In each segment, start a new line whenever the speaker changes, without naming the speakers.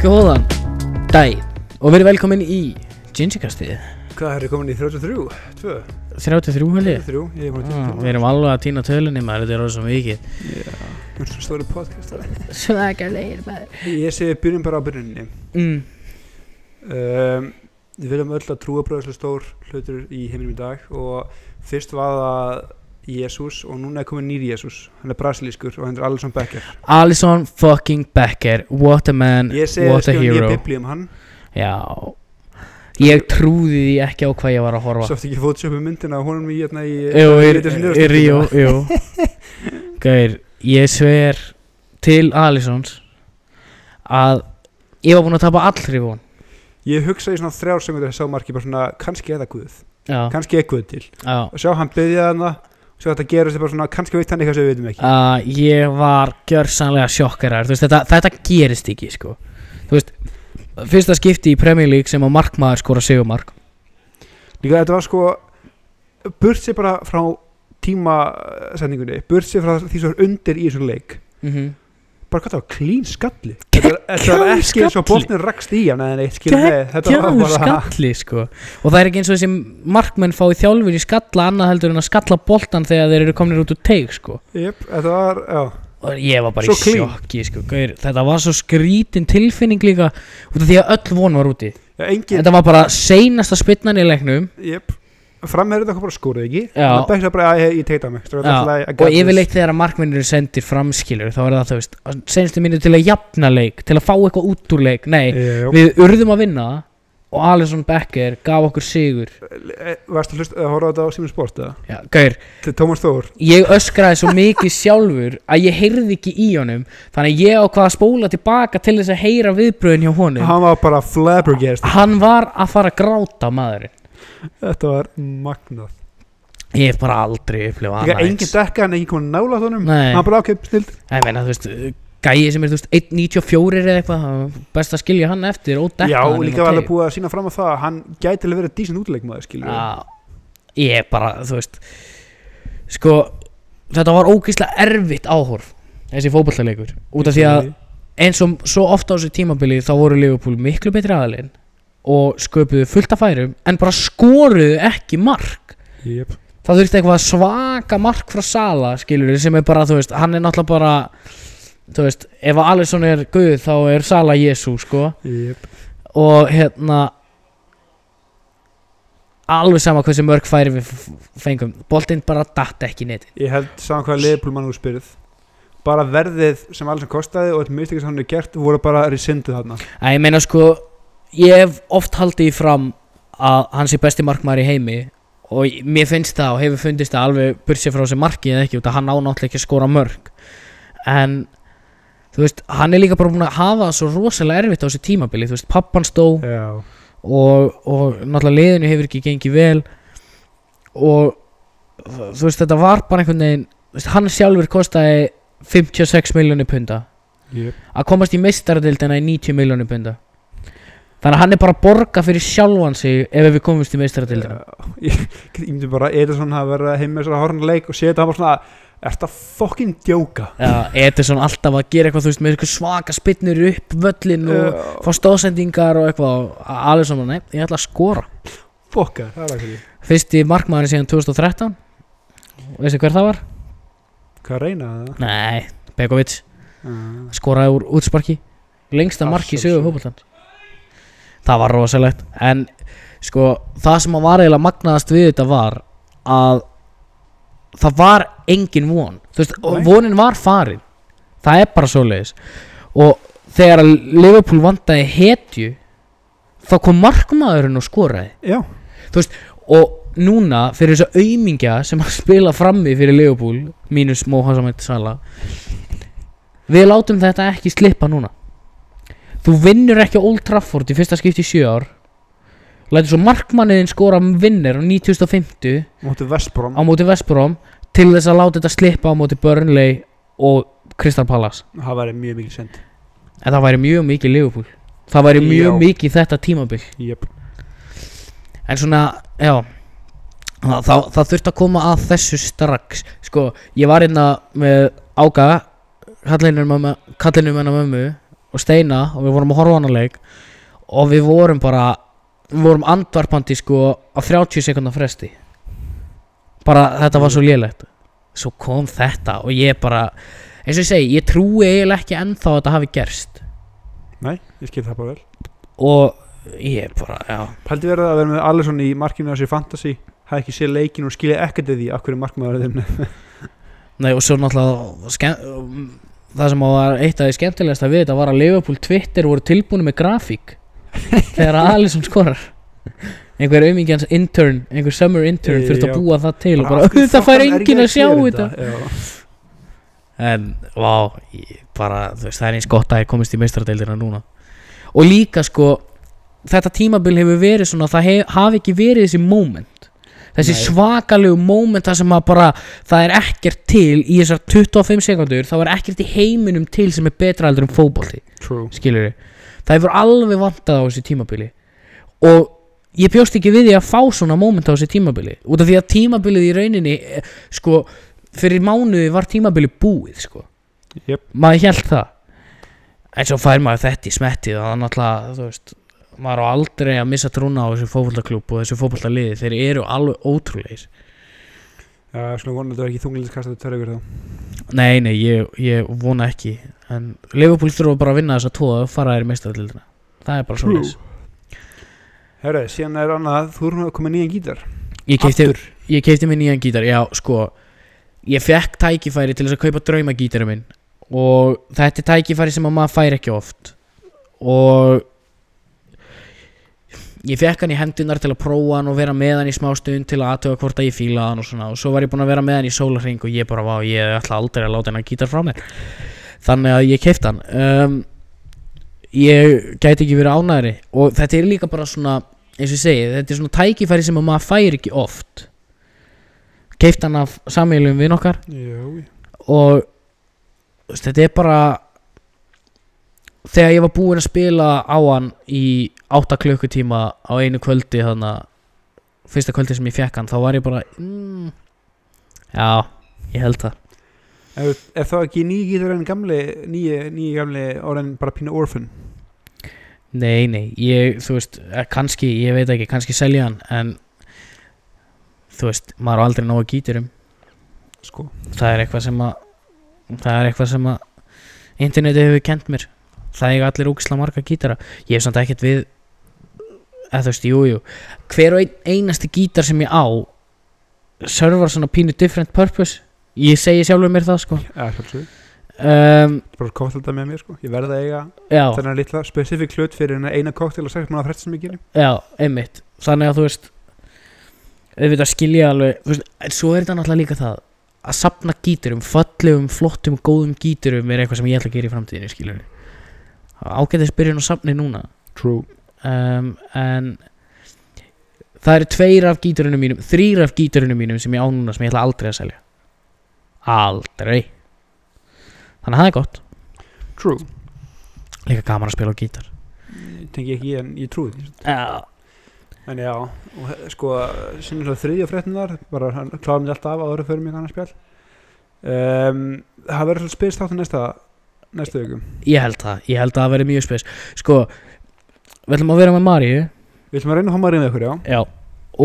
Góðan daginn og verið velkomin í Ginsikastið
Hvað er þið komin í 33? 2?
33 hölli
3? Ég er komin í
ah, Við
33
erum alveg að týna tölunni maður, þetta er orðið svo mikið
Við erum svona stóri podcastar
Svakalegir maður
Ég segi byrjum bara á byrjunni
mm.
um, Við viljum öll að trúa bróðislega stór hlutur í heiminum í dag og fyrst var það Jésús og núna er komin nýr Jésús Hann er brasilískur og hann er Alisson Becker
Alisson fucking Becker What a man,
Ég segi að
what a
skilja nýja
hero
bibli um hann
Já Ég trúði því ekki á hvað ég var að horfa
Svo eftir ekki fótsjöfum myndina og honum í hérna í
Jú,
í
er,
Riters
er,
Niðurstaðna.
jú, jú Gauir, ég sver til Alissons að ég var búinn að tapa allri von
Ég hugsaði í svona þrjár sekundur að sá marki bara svona kannski eða Guð
Já,
kannski eða Guð til
já
og sjá hann byggja hann og sjá þetta gerist er bara svona kannski veit hann eitthvað sem við veitum ekki
að ég var gjörsanlega sjokkarar veist, þetta, þetta gerist ekki sko. Þú veist, fyrsta skipti í Premier League sem að markmaður skora sigumark
líka þetta var sko burt sér bara frá tímasendingunni burt sér frá því sem var undir í þessum leik
mm -hmm.
bara hvað það var klín skalli þetta var- þetta var
Geggjaður
ekki eins og
skalli.
bóknir rakst í hann eða neitt skilur með þetta var
Gjörðu
bara
skalli sko. og það er ekki eins og þessi markmenn fá í þjálfur í skalla annað heldur en að skalla boltan þegar þeir eru komnir út úr teig sko.
Jep, þetta var, já,
og ég var bara
Svo
í
clean.
sjokki sko. Gaur, þetta var svo skrítin tilfinning líka út af því að öll von var úti
já engin
þetta var bara seinasta spinnan í leiknum
Jep, framherðu þetta bara skóraði ekki
Já.
það bækst bara að ég, ég teita mig
Já, og yfirleitt þegar að markmennir eru sendir framskilur þá er það þú veist, senstu mínu til að jafna leik til að fá eitthvað út úr leik nei,
yfirleitt
við urðum að vinna og Alisson Becker gaf okkur sigur
eh, varstu að hlusta að horfa á þetta á símum sport eða?
Já, gaur,
Til Tómas Þór
ég öskraði svo mikið sjálfur að ég heyrði ekki í honum þannig að ég ákvað að spóla tilbaka til þess að heyra viðbröðin hjá honum
hann var bara flabbergast
hann var að fara að gráta maðurinn
þetta var magnað
ég hef bara aldrei upplifað
líka
annað
engin
eins.
dekka hann engin komin nála þónum
Ah, Nei.
hann bara ákveð snild
Ég meina, þú veist, gæi sem er þú veist, 1.94 eða eitthvað það var best að skilja hann eftir og dekka
já
hann inn á
líka var
teig.
alveg búið að sína fram á það að hann gæti alveg verið dísinn útileikmaður skilur við.
Já, Ah, ég bara, þú veist Sko, þetta var ógeðslega erfitt áhorf Þessi fótballleikur Út af því að eins og svo ofta á þessu tímabili Þá voru Liverpool miklu betri aðalinn Og sköpuðu fullt af færum En bara skoruðu ekki mark
Jep.
Það þurfti eitthvað svaka mark frá Sala Skilur sem er bara, þú veist, hann er náttúrulega bara Þú veist, ef að Alisson er Guð þá er Sala Jésu, sko
Jep.
og hérna alveg sama hversu mörg færi við f- f- fengum boltinn bara datt ekki neitt
ég held saman hvað leifbúl mann úr spyrð bara verðið sem alls hann kostaði og þetta mistekist hann er gert voru bara resinduð hann
að ég meina sko ég hef oft haldið í fram að hans er besti markmaður í heimi og ég- mér finnst það og hefur fundist það alveg bursið frá þessi marki eða ekki út að hann á náttúrulega ekki að skora mörg en þú veist hann er líka bara búin að hafa það svo rosalega erfitt á þessu tímabili þú veist pappan stó
já
og, og náttúrulega liðinu hefur ekki gengið vel og þú veist þetta var bara einhvern veginn þú veist, hann sjálfur kostaði 56 miljónir punda
Jep.
að komast í meistaradildina í 90 miljónir punda þannig að hann er bara að borga fyrir sjálfan sig ef við komumst í meistaradildina
Já, ég ég myndi bara Edison hafa verið heim með þessara horna leik og séð þetta hann bara svona er þetta fokkin djóka
Já, Edison alltaf að gera eitthvað þú veist með eitthvað svaka spinnur upp völlin og
Já.
fá stóðsendingar og eitthvað og alveg saman, nei, ég ætla að skora
fokka það er ekki
fyrsti markmaðurinn síðan 2013 veistu hver það var?
hvað reyna það
Nei, Begovic
Ah.
skoraði úr útsparki lengsta
Að
marki í
sjálfsögðu.
sögu fókbaltans það var rosalegt en sko það sem að var eiginlega magnaðast við þetta var að það var engin von þú veist, og
Nei.
vonin var farin það er bara svoleiðis og þegar að Liverpool vandaði hetju þá kom markmaðurinn og skoraði
Já,
þú veist, og núna fyrir þess að aumingja sem að spila frammi fyrir Leopold mínus Mohamed Salah við látum þetta ekki slippa núna þú vinnur ekki á Old Trafford í fyrsta skipti í sjö ár lætur svo markmanniðin skora vinnir á 9050
mútið Vestbrom
á móti Vestbrom til þess að láta þetta slippa á móti Burnley og Crystal Palace
Það væri mjög mikið send
en það væri mjög mikið Leopold það væri mjög
Já.
mikið þetta tímabil
yep.
En svona, já Það, það, það þurfti að koma að þessu strax Sko, ég var hérna með ága Kallinum hennar mömmu og Steina og við vorum að horfa á hana leik og við vorum bara við vorum andvarpandi sko á 30 sekundar fresti bara þetta var svo lélegt svo kom þetta og ég bara eins og ég segi, ég trúi eiginlega ekki ennþá að þetta hafi gerst
Nei, ég skil það bara vel
og ég bara, já
Paldi verið að vera með Alisson í markinu á sér fantasy hafði ekki séð leikin og skilja ekkert eða því af hverju markmaður er þeim
Nei, og svo náttúrulega sken... það sem var eitt af því skemmtilegasta við þetta var að Liverpool Twitter voru tilbúinu með grafík þegar Alisson skorar einhver aumingjans intern, einhver summer intern þurft
Já.
að búa það til og bara,
Bara, af hverju
það fær
fokkanum er
enginn
ég
að sjá
gera
þetta
Já.
En, vá, ég bara, þú veist, það er eins gott að ég komist í meistradeildina núna Og líka, sko, þetta tímabil hefur verið svona, það hef, hafi ekki verið þessi moment Þessi
Nei.
svakalegu moment þar sem að bara, það er ekkert til í þessar 25 sekundur Þá er ekkert í heiminum til sem er betra heldur um fótbolti,
True
skilur Það hefur alveg vantað á þessi tímabili Og ég bjóst ekki við því að fá svona moment á þessi tímabili Út af því að tímabilið í rauninni, eh, sko, fyrir mánuði var tímabilið búið, sko
yep.
maður held það en svo fær maður þetta í smettið og það er náttúrulega, þú veist maður á aldrei að missa trúna á þessu fótboltaklúb og þessu fótboltaliði, þeir eru alveg ótrúleis
Já, svona vonandi að það er ekki þunglindskast að þetta törra ykkur þá
nei, nei, ég, ég vona ekki en Liverpool þurfa bara að vinna þessa tvo og fara þær í meistardildina það er bara
True.
svona
Herra, síðan er annað, þú erum að koma nýjan gítar
ég keipti,
Aftur.
ég keipti mér nýjan gítar, já, sko ég fekk tækifæri til þess að kaupa draumagítara minn og þetta er tækifæri sem að maður fær ekki oft og ég fekk hann í hendunar til að prófa hann og vera með hann í smá stund til að aðtöga hvort að ég fíla hann og svona og svo var ég búinn að vera með hann í sólarring og ég bara vá, ég ætla aldrei að láta hann að gítar frá mér þannig að ég keipti hann um, ég gæti ekki verið ánæðri og þetta er líka bara svona eins og ég segi, þetta er svona tækifæri sem að maður fær ekki oft keipti hann af samílum við nokkar
Já,
og þú veist, þetta er bara þegar ég var búinn að spila á hann í 8 klukkutíma á einu kvöldi þannig að fyrsta kvöldi sem ég fekk hann þá var ég bara mm, já, ég held það
Er, er þá ekki nýji gítar en gamli nýji, nýji gamli orðin bara pínu orphan
nei, nei, ég, þú veist eh, kannski, ég veit ekki, kannski selja hann en þú veist, maður á aldrei nógu um. gíturum
sko.
það er eitthvað sem að það er eitthvað sem að internetið hefur kent mér það er allir úksla marga gítara ég hef samt ekkert við eða þú veist, jú, jú hver og ein, einasti gítar sem ég á servar svona pínu different purpose ég segi sjálfur mér það sko
Eða sjálfsög
um,
Bara koktelda með mér sko Ég verða að eiga
já,
þennan litla specifík hlut fyrir hennar eina koktel og sex manna frett sem ég gerir
já, einmitt þannig að þú veist auðvitað skilja alveg þú veist, en svo er þetta náttúrulega líka það að sapna gíturum, fallegum, flottum, góðum gíturum er eitthvað sem ég ætla að gera í framtíðinni skiljum ágætis byrjun á sapni núna
True
um, en það eru tveir af gíturunum mínum þrýr af gíturunum mínum sem ég á núna sem ég ætla aldrei að selja aldrei þannig að það er gott
True
líka gaman að spila á gítar
Tengi ekki ég en ég trúi því
já,
En já, og he- sko, sinni svo þriðja fréttinar, bara hann kláðum þetta alltaf áður fyrir mig annars spjall. Um, það verður svolítið spyrst þáttu næsta, næsta vikum.
ég held það, ég held að það verði mjög spes sko, við ætlum að vera með Maríu
Við ætlum að reyna að hóma að reyna ykkur, já,
já,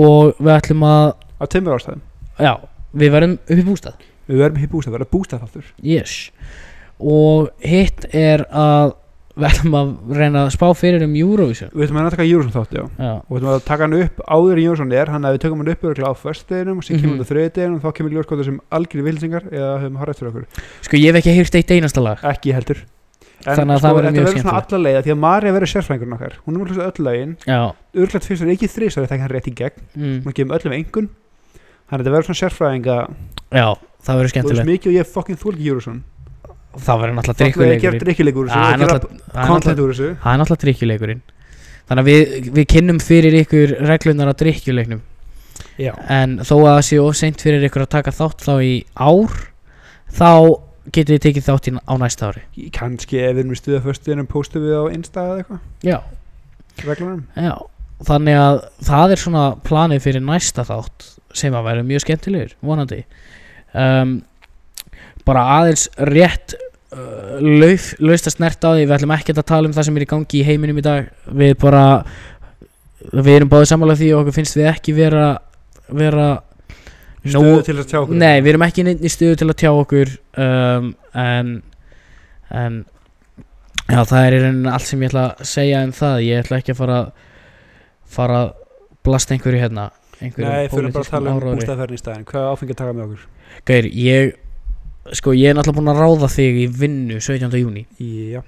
og við ætlum að
á tveimur ástæðum.
já, við verðum upp í bústað
Við verðum hér bústað, verður bústað þáttur.
Yes Og hitt er að Við ætlum að reyna að spá fyrir um Eurovision
Við ætlum að reyna að taka Júrusson þátt, já.
Já,
Og við ætlum að taka hann upp áður en Júrusson er, hann að við tökum hann upp örugglega á föstudeginum, síðan
Mhm.
kemur hann á þriðdeginum og þá kemur ljóskóta sem algjörði vilsingar eða höfum horrið eftir okkur.
sko ég hef ekki heyrt eitt einasta lag
Ekki heldur. En sko,
Þannig að það verður
þetta
mjög
svona
skemmtilegt.
alla leiða því að Marja verður sérfræðingurinn okkar. Hún er mjög hlust öll lögin,
Já
örglætt fyrst ekki þrísar þetta ekki hann rétt í gegn.
mm.
hún er að gefa öllum engun þannig að þetta verður svona sérfræðinga
Já, það verður
þú veist
skemmtilegt
mikið og ég fucking þól ekki Júrusson
Það verður náttúrulega
ég
drikkjuleikurinn
gert drikkuleikur úr
Það er
þessu og
náttúrulega- það
gera
er náttúrulega
content úr þessu
það er náttúrulega drikkjuleikurinn Þannig að við, við kynnum fyrir ykkur reglunar á drikkjuleiknum
já,
En þó að það sé of seint fyrir ykkur að taka þátt þá í ár Þá getur þið tekið þátt í, á næsta ári
kannski ef við erum í stuða föstuðinum postum við á Insta eða eitthvað
Já
reglunum
Já, þannig að það er svona planið fyrir næsta þátt sem að vera mjög skemmtilegur, vonandi um, bara aðeins rétt uh, lauf, laust að snerta á því við ætlum ekkert að tala um það sem er í gangi í heiminum í dag við bara við erum báðið sammála því og okkur finnst við ekki vera vera
Stöðu til að tjá okkur
Nei, við erum ekki í neinni stuðu til að tjá okkur um, en, en já, það er í rauninni allt sem ég ætla að segja um það ég ætla ekki að fara fara að blasta einhverju hérna einhverju
Nei, fyrir bara að
pólitískum
tala um
áróðri.
bústaðferðin í staðin Hvað áfengi að taka með okkur?
Gaur, ég sko, ég er náttúrulega búinn að ráða þig í vinnu 17. júni
Já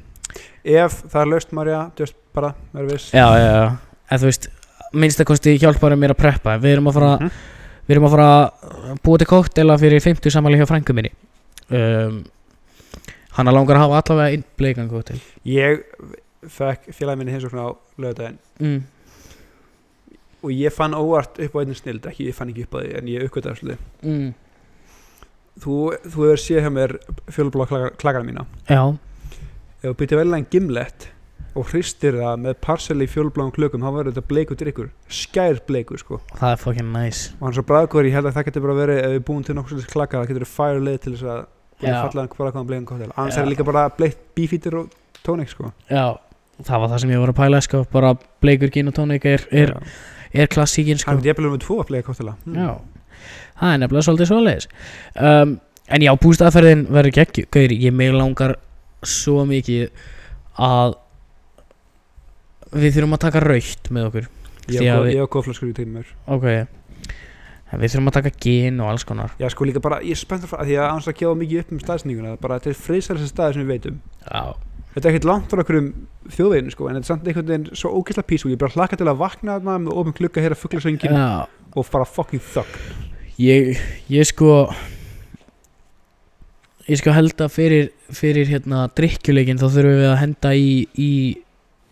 Ef það er laust, Marja, just bara, verður viss
Já, já, já, en þú veist minnstakosti hjálpar mér að preppa við erum að fara
Mhm.
Við erum að fara að búa til kóktela fyrir 50 sammæli hjá frængu minni um, Hanna langar að hafa allavega einn bleikan kóktel
Ég fekk félagi minni heimsókn á lögadaginn
mm.
og ég fann óvart upp á einnig snild ekki, ég fann ekki upp á því, en ég uppgötaði svolítið
Mm.
Þú, þú hefur séð hjá mér fjölblá klakana mína
Já,
Ef þú byrjar veljan gimlet og hristir það með parsel í fjölbláum klökum þá verður þetta bleikur drikkur, skær bleikur sko.
það er fucking nice
og hann er svo bræðkvör, ég held að það getur bara verið ef við búum til nokkuð svolítið klaka, það getur verið fire leið til þess að búin
Já.
að falla hann bara hvaðan bleikan kóttel annars
Já.
er það líka bara bleikt bífítir og tónik sko.
Já, það var það sem ég var að pæla sko Bara bleikur gin og tónik er, er,
Já.
er klassíkin sko
hann getur jafnvel um tvo bleika kóttela
Já, það er nefnilega svolítið svoleiðis um, En já, bústaðferðin verður gegg Gauður, ég mig langar svo mikið að við þurfum að taka raukt með okkur
ég
Því að
hafa
við-
gó, góðflöskur í tímur
Ok En Við þurfum að taka gin og alls konar
já sko líka bara, ég er spenntur frá því að annars að gefa mikið upp um staðsninguna bara þetta er friðsælsta staði sem við veitum
Já
þetta er ekkert langt frá okkur um þjóðveginu sko, en þetta er samt einhvern veginn svo ógeðslega pís og ég er bara hlakka til að vakna þarna með ofin klukka að heyra fugglasöngin
Já,
og fara fucking þögg
ég, ég sko Ég sko held að fyrir, fyrir hérna drikkjuleikin þá þurfum við að henda í, í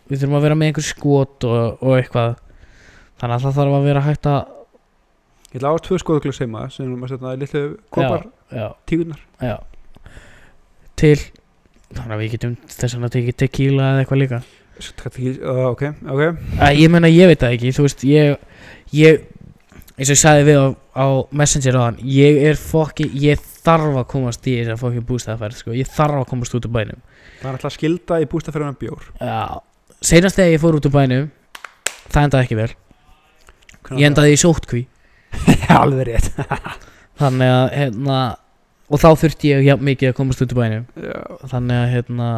Við þurfum að vera með einhver skot og, og eitthvað Þannig að það þarf að vera hægt að
ég ætla að hafa tvö skoðuglöks heima sem erum að setja í litlu kopar
Já,
tígunar
já Til Þannig að við getum þess vegna tekið tequila eða eitthvað líka
uh, ok, ok,
Æ, ég meina ég veit það ekki, þú veist, ég, ég, eins og ég sagði við á, á Messenger á hann, ég er fokki, ég þarf að komast í þess að fokki bústæðaferð, sko, ég þarf að komast út úr bænum.
það er alltaf að skilda í bústaferðina bjór
Já, seinast þegar ég fór út úr bænum, það endaði ekki vel, ég endaði í sótkví,
alveg rétt
þannig að, hérna, og þá þurfti ég jafn mikið að komast út úr bænum,
já,
þannig að, hérna,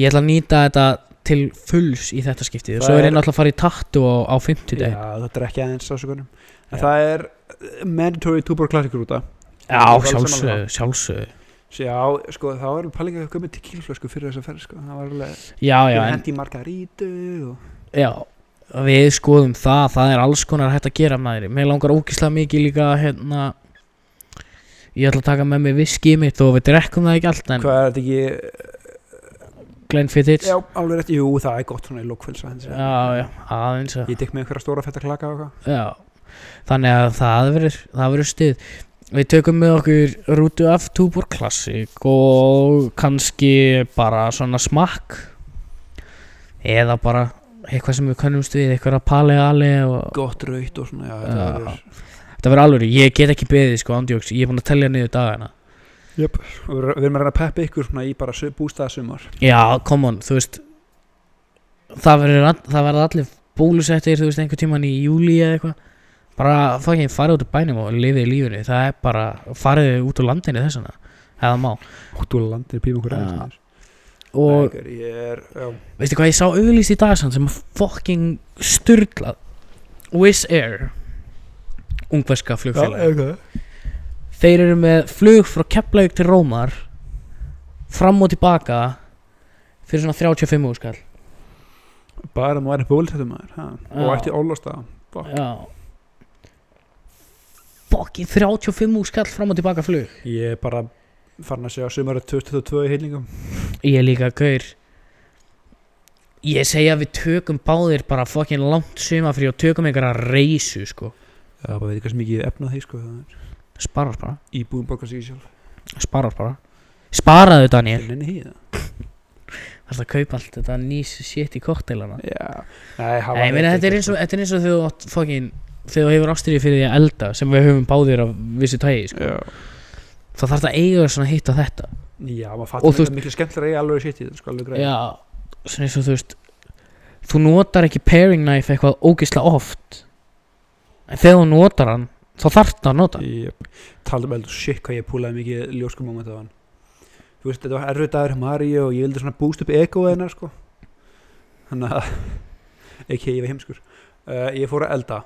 ég ætla að nýta þetta til fulls í þetta skiptið og
Það
svo er
er-
ég náttúrulega að fara í tattu á, á 50
já, þetta er ekki aðeins ásökunum en það er eh, mandatory túbor klassikur út af
Já,
Ég er alveg sammála.
sjálfsögðu, sjálfsögðu.
já, sko, það var alveg pælinga að koma til kílflösku fyrir þessa ferð, sko, það var alveg
Já, Ah, já, en,
hendi margarítu og
já, við skoðum það, það er alls konar hægt að gera maður Mér langar ógislega mikið líka, hérna, ég ætla að taka með mig viskið mitt og við drekkum það ekki allt En
hvað er þetta ekki
Glenfiddich,
Já, alveg rétt, jú, það er gott svona í lókfélsa
já, já, aðeins að,
Ég tek með einhverja stóra fætta klaka og eitthvað
já Þannig að það verður, það verður stuð Við tökum með okkur rútu af Tubor Classic og kannski bara svona smakk Eða bara eitthvað sem við könnumst við, eitthvað pali-ali og
Gott raut og svona, já,
Já.
þetta verður
Þetta verður alveg, ég get ekki beðið sko ándjóks, ég er búin að tellja niður dagana
Jöp, og við við erum að reyna að peppa ykkur svona í bara su- bústaðasumar
Já, come on, þú veist Það verður, all- það verður allir bólusettir, þú veist, einhver tíman í júli eða eitthvað Bara fucking farið út úr bænum og lifið í lífinu, það er bara farið út úr landinu þessana eða má
Óttu landir píma
Já.
einhverja aðeins
Og
Ægur, ég er, já
veistu hvað ég sá auglýst í dag sann sem var fucking styrlað Wizz Air Ungverska flugfélag
ok
Þeir eru með flug frá Keflavík til Rómar fram og tilbaka fyrir svona 35 úrskall
Bara maður er bólisettum maður, ha Og
Já.
ætti ólósta Fuck.
Já Fokkin 35 úrskall fram og tilbaka flug
Ég er bara farin að segja sumari 2022 í heilningum
Ég er líka gaur Ég segi að við tökum báðir bara fokkin langt sumafrí og tökum einhverja reysu sko
Já, bara veit ekki hversu mikið efna því, sko það er
Sparar bara
Íbúin borgar sig í sjálf
Sparar bara Sparaðu Daniel
Nenni því það
Það er að kaupa allt þetta nýs shit í kokteilana
Já Nei, hafa
Nei, ég meina þetta er eins og, þetta er eins og þegar þú átt fokkin þegar þú hefur ástyrði fyrir því að elda sem við höfum báðir af vissu tægi sko.
Já
þá þarf þetta eiga svona hitt og þetta
Já, maður
Og
fattar
þú
þetta miklu skemmtilega að eiga alveg sitt í þetta sko, alveg greið
Já, svona eins og þú veist Þú notar ekki pairing knife eitthvað ógislega oft En þegar þú notar hann Þá þarft það að nota hann.
Jep. Talum heldur shit hvað ég púlaði mikið ljóskum moment af hann Þú veist, þetta var erfið dagur hjá Maríu og ég vildi svona búst upp ego hennar sko Þannig að ekki ég var heimskur uh, Ég fór að elda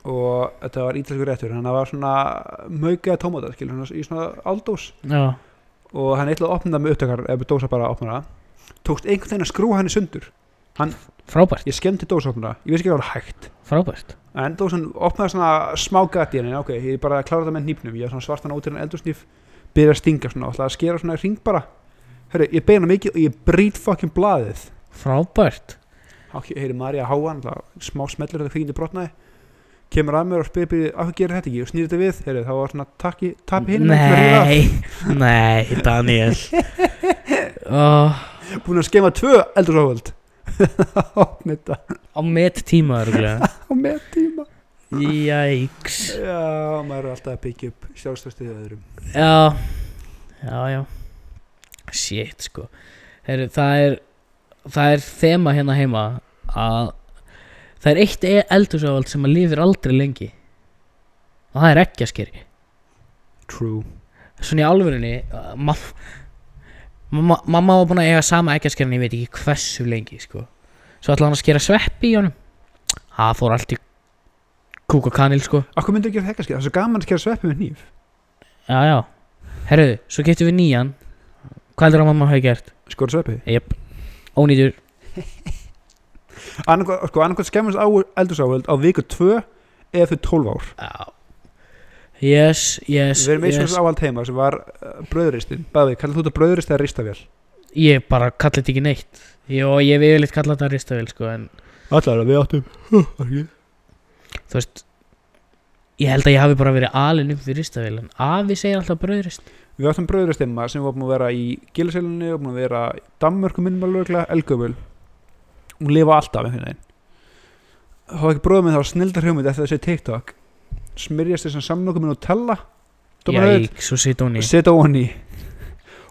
og þetta var ítalskur réttur þannig að það var svona maukaða tómata skilur, svona, í svona aldós
Já,
og hann ætlaði að opna það með upptökar eða dósa bara að opna það tókst einhvern veginn að skrúa henni sundur
frábært,
ég skemmti dósopnuna, ég veist ekki hvað var hægt
frábært
en dósan opnaði svona smá gat í henni ok, ég er bara að klára þetta með hnýpnum ég var svona svartan ótyrinn eldursnýf byrja að stinga svona, ætlaði að skera svona ring bara Hörru, ég beina mikið og ég brýt fucking blaðið
Frábært
ok, heyri Marja háan, smá smellur þetta kvíkindi brotnaði kemur að mér og spyrir byrja, af hvað gerir þetta ekki og snýr þetta við, heyri, þá var svona takki, tapi hinn
Nei, nei, Daniel Ó,
búin að skema tvö eldursoföld opna þetta
Á met tíma örgulega
á með tíma
Jæks
já, maður er alltaf að byggja upp sjálfstöðstuðið öðrum
Já, já, já Shit, sko Heru, Það er Það er þema hérna heima að það er eitt eldursávald sem að lifir aldrei lengi og það er ekki að skeri
true
Svona í alvörinni uh, ma mamma, mamma var búin að eiga sama ekki að en ég veit ekki hversu lengi sko. Svo ætlaði hann að skera sveppi í honum Það fór allt í kúk og kanil sko
akkur myndir ekki að hekka skil, það er svo gaman að skera sveppi með nýf
Já, já Herruðu, svo getum við nýjan Hvað heldur að mamma hafi gert?
skora sveppi,
Jep, ónýtur
annarkvæmt sko, annarkvæm skemmast á eldursávöld á viku 2 eða þau 12 ár
Já Yes, yes,
við erum eins og
yes
þessu ávald heima sem var uh, bröðristin, bæði, kallar þú þetta bröðrist eða ristavél
Ég bara kalla þetta ekki neitt Jó, ég hef yfirleitt kalla þetta ristavél sko En
allar að við áttum
þú veist Ég held að ég hafi bara verið alin upp við ristavél En afi segir alltaf bröðrist
við áttum bröðrist heima sem var búin að vera í giliselunni og búin að vera í Danmörku minnum að lögla elgöful hún lifa alltaf einhvern veginn þá var ekki bróðum minn þá snildar hugmynd eftir þessi TikTok smyrjast þessan samlokum minn og tella
Jæk, svo sitt hún í
setja ofan í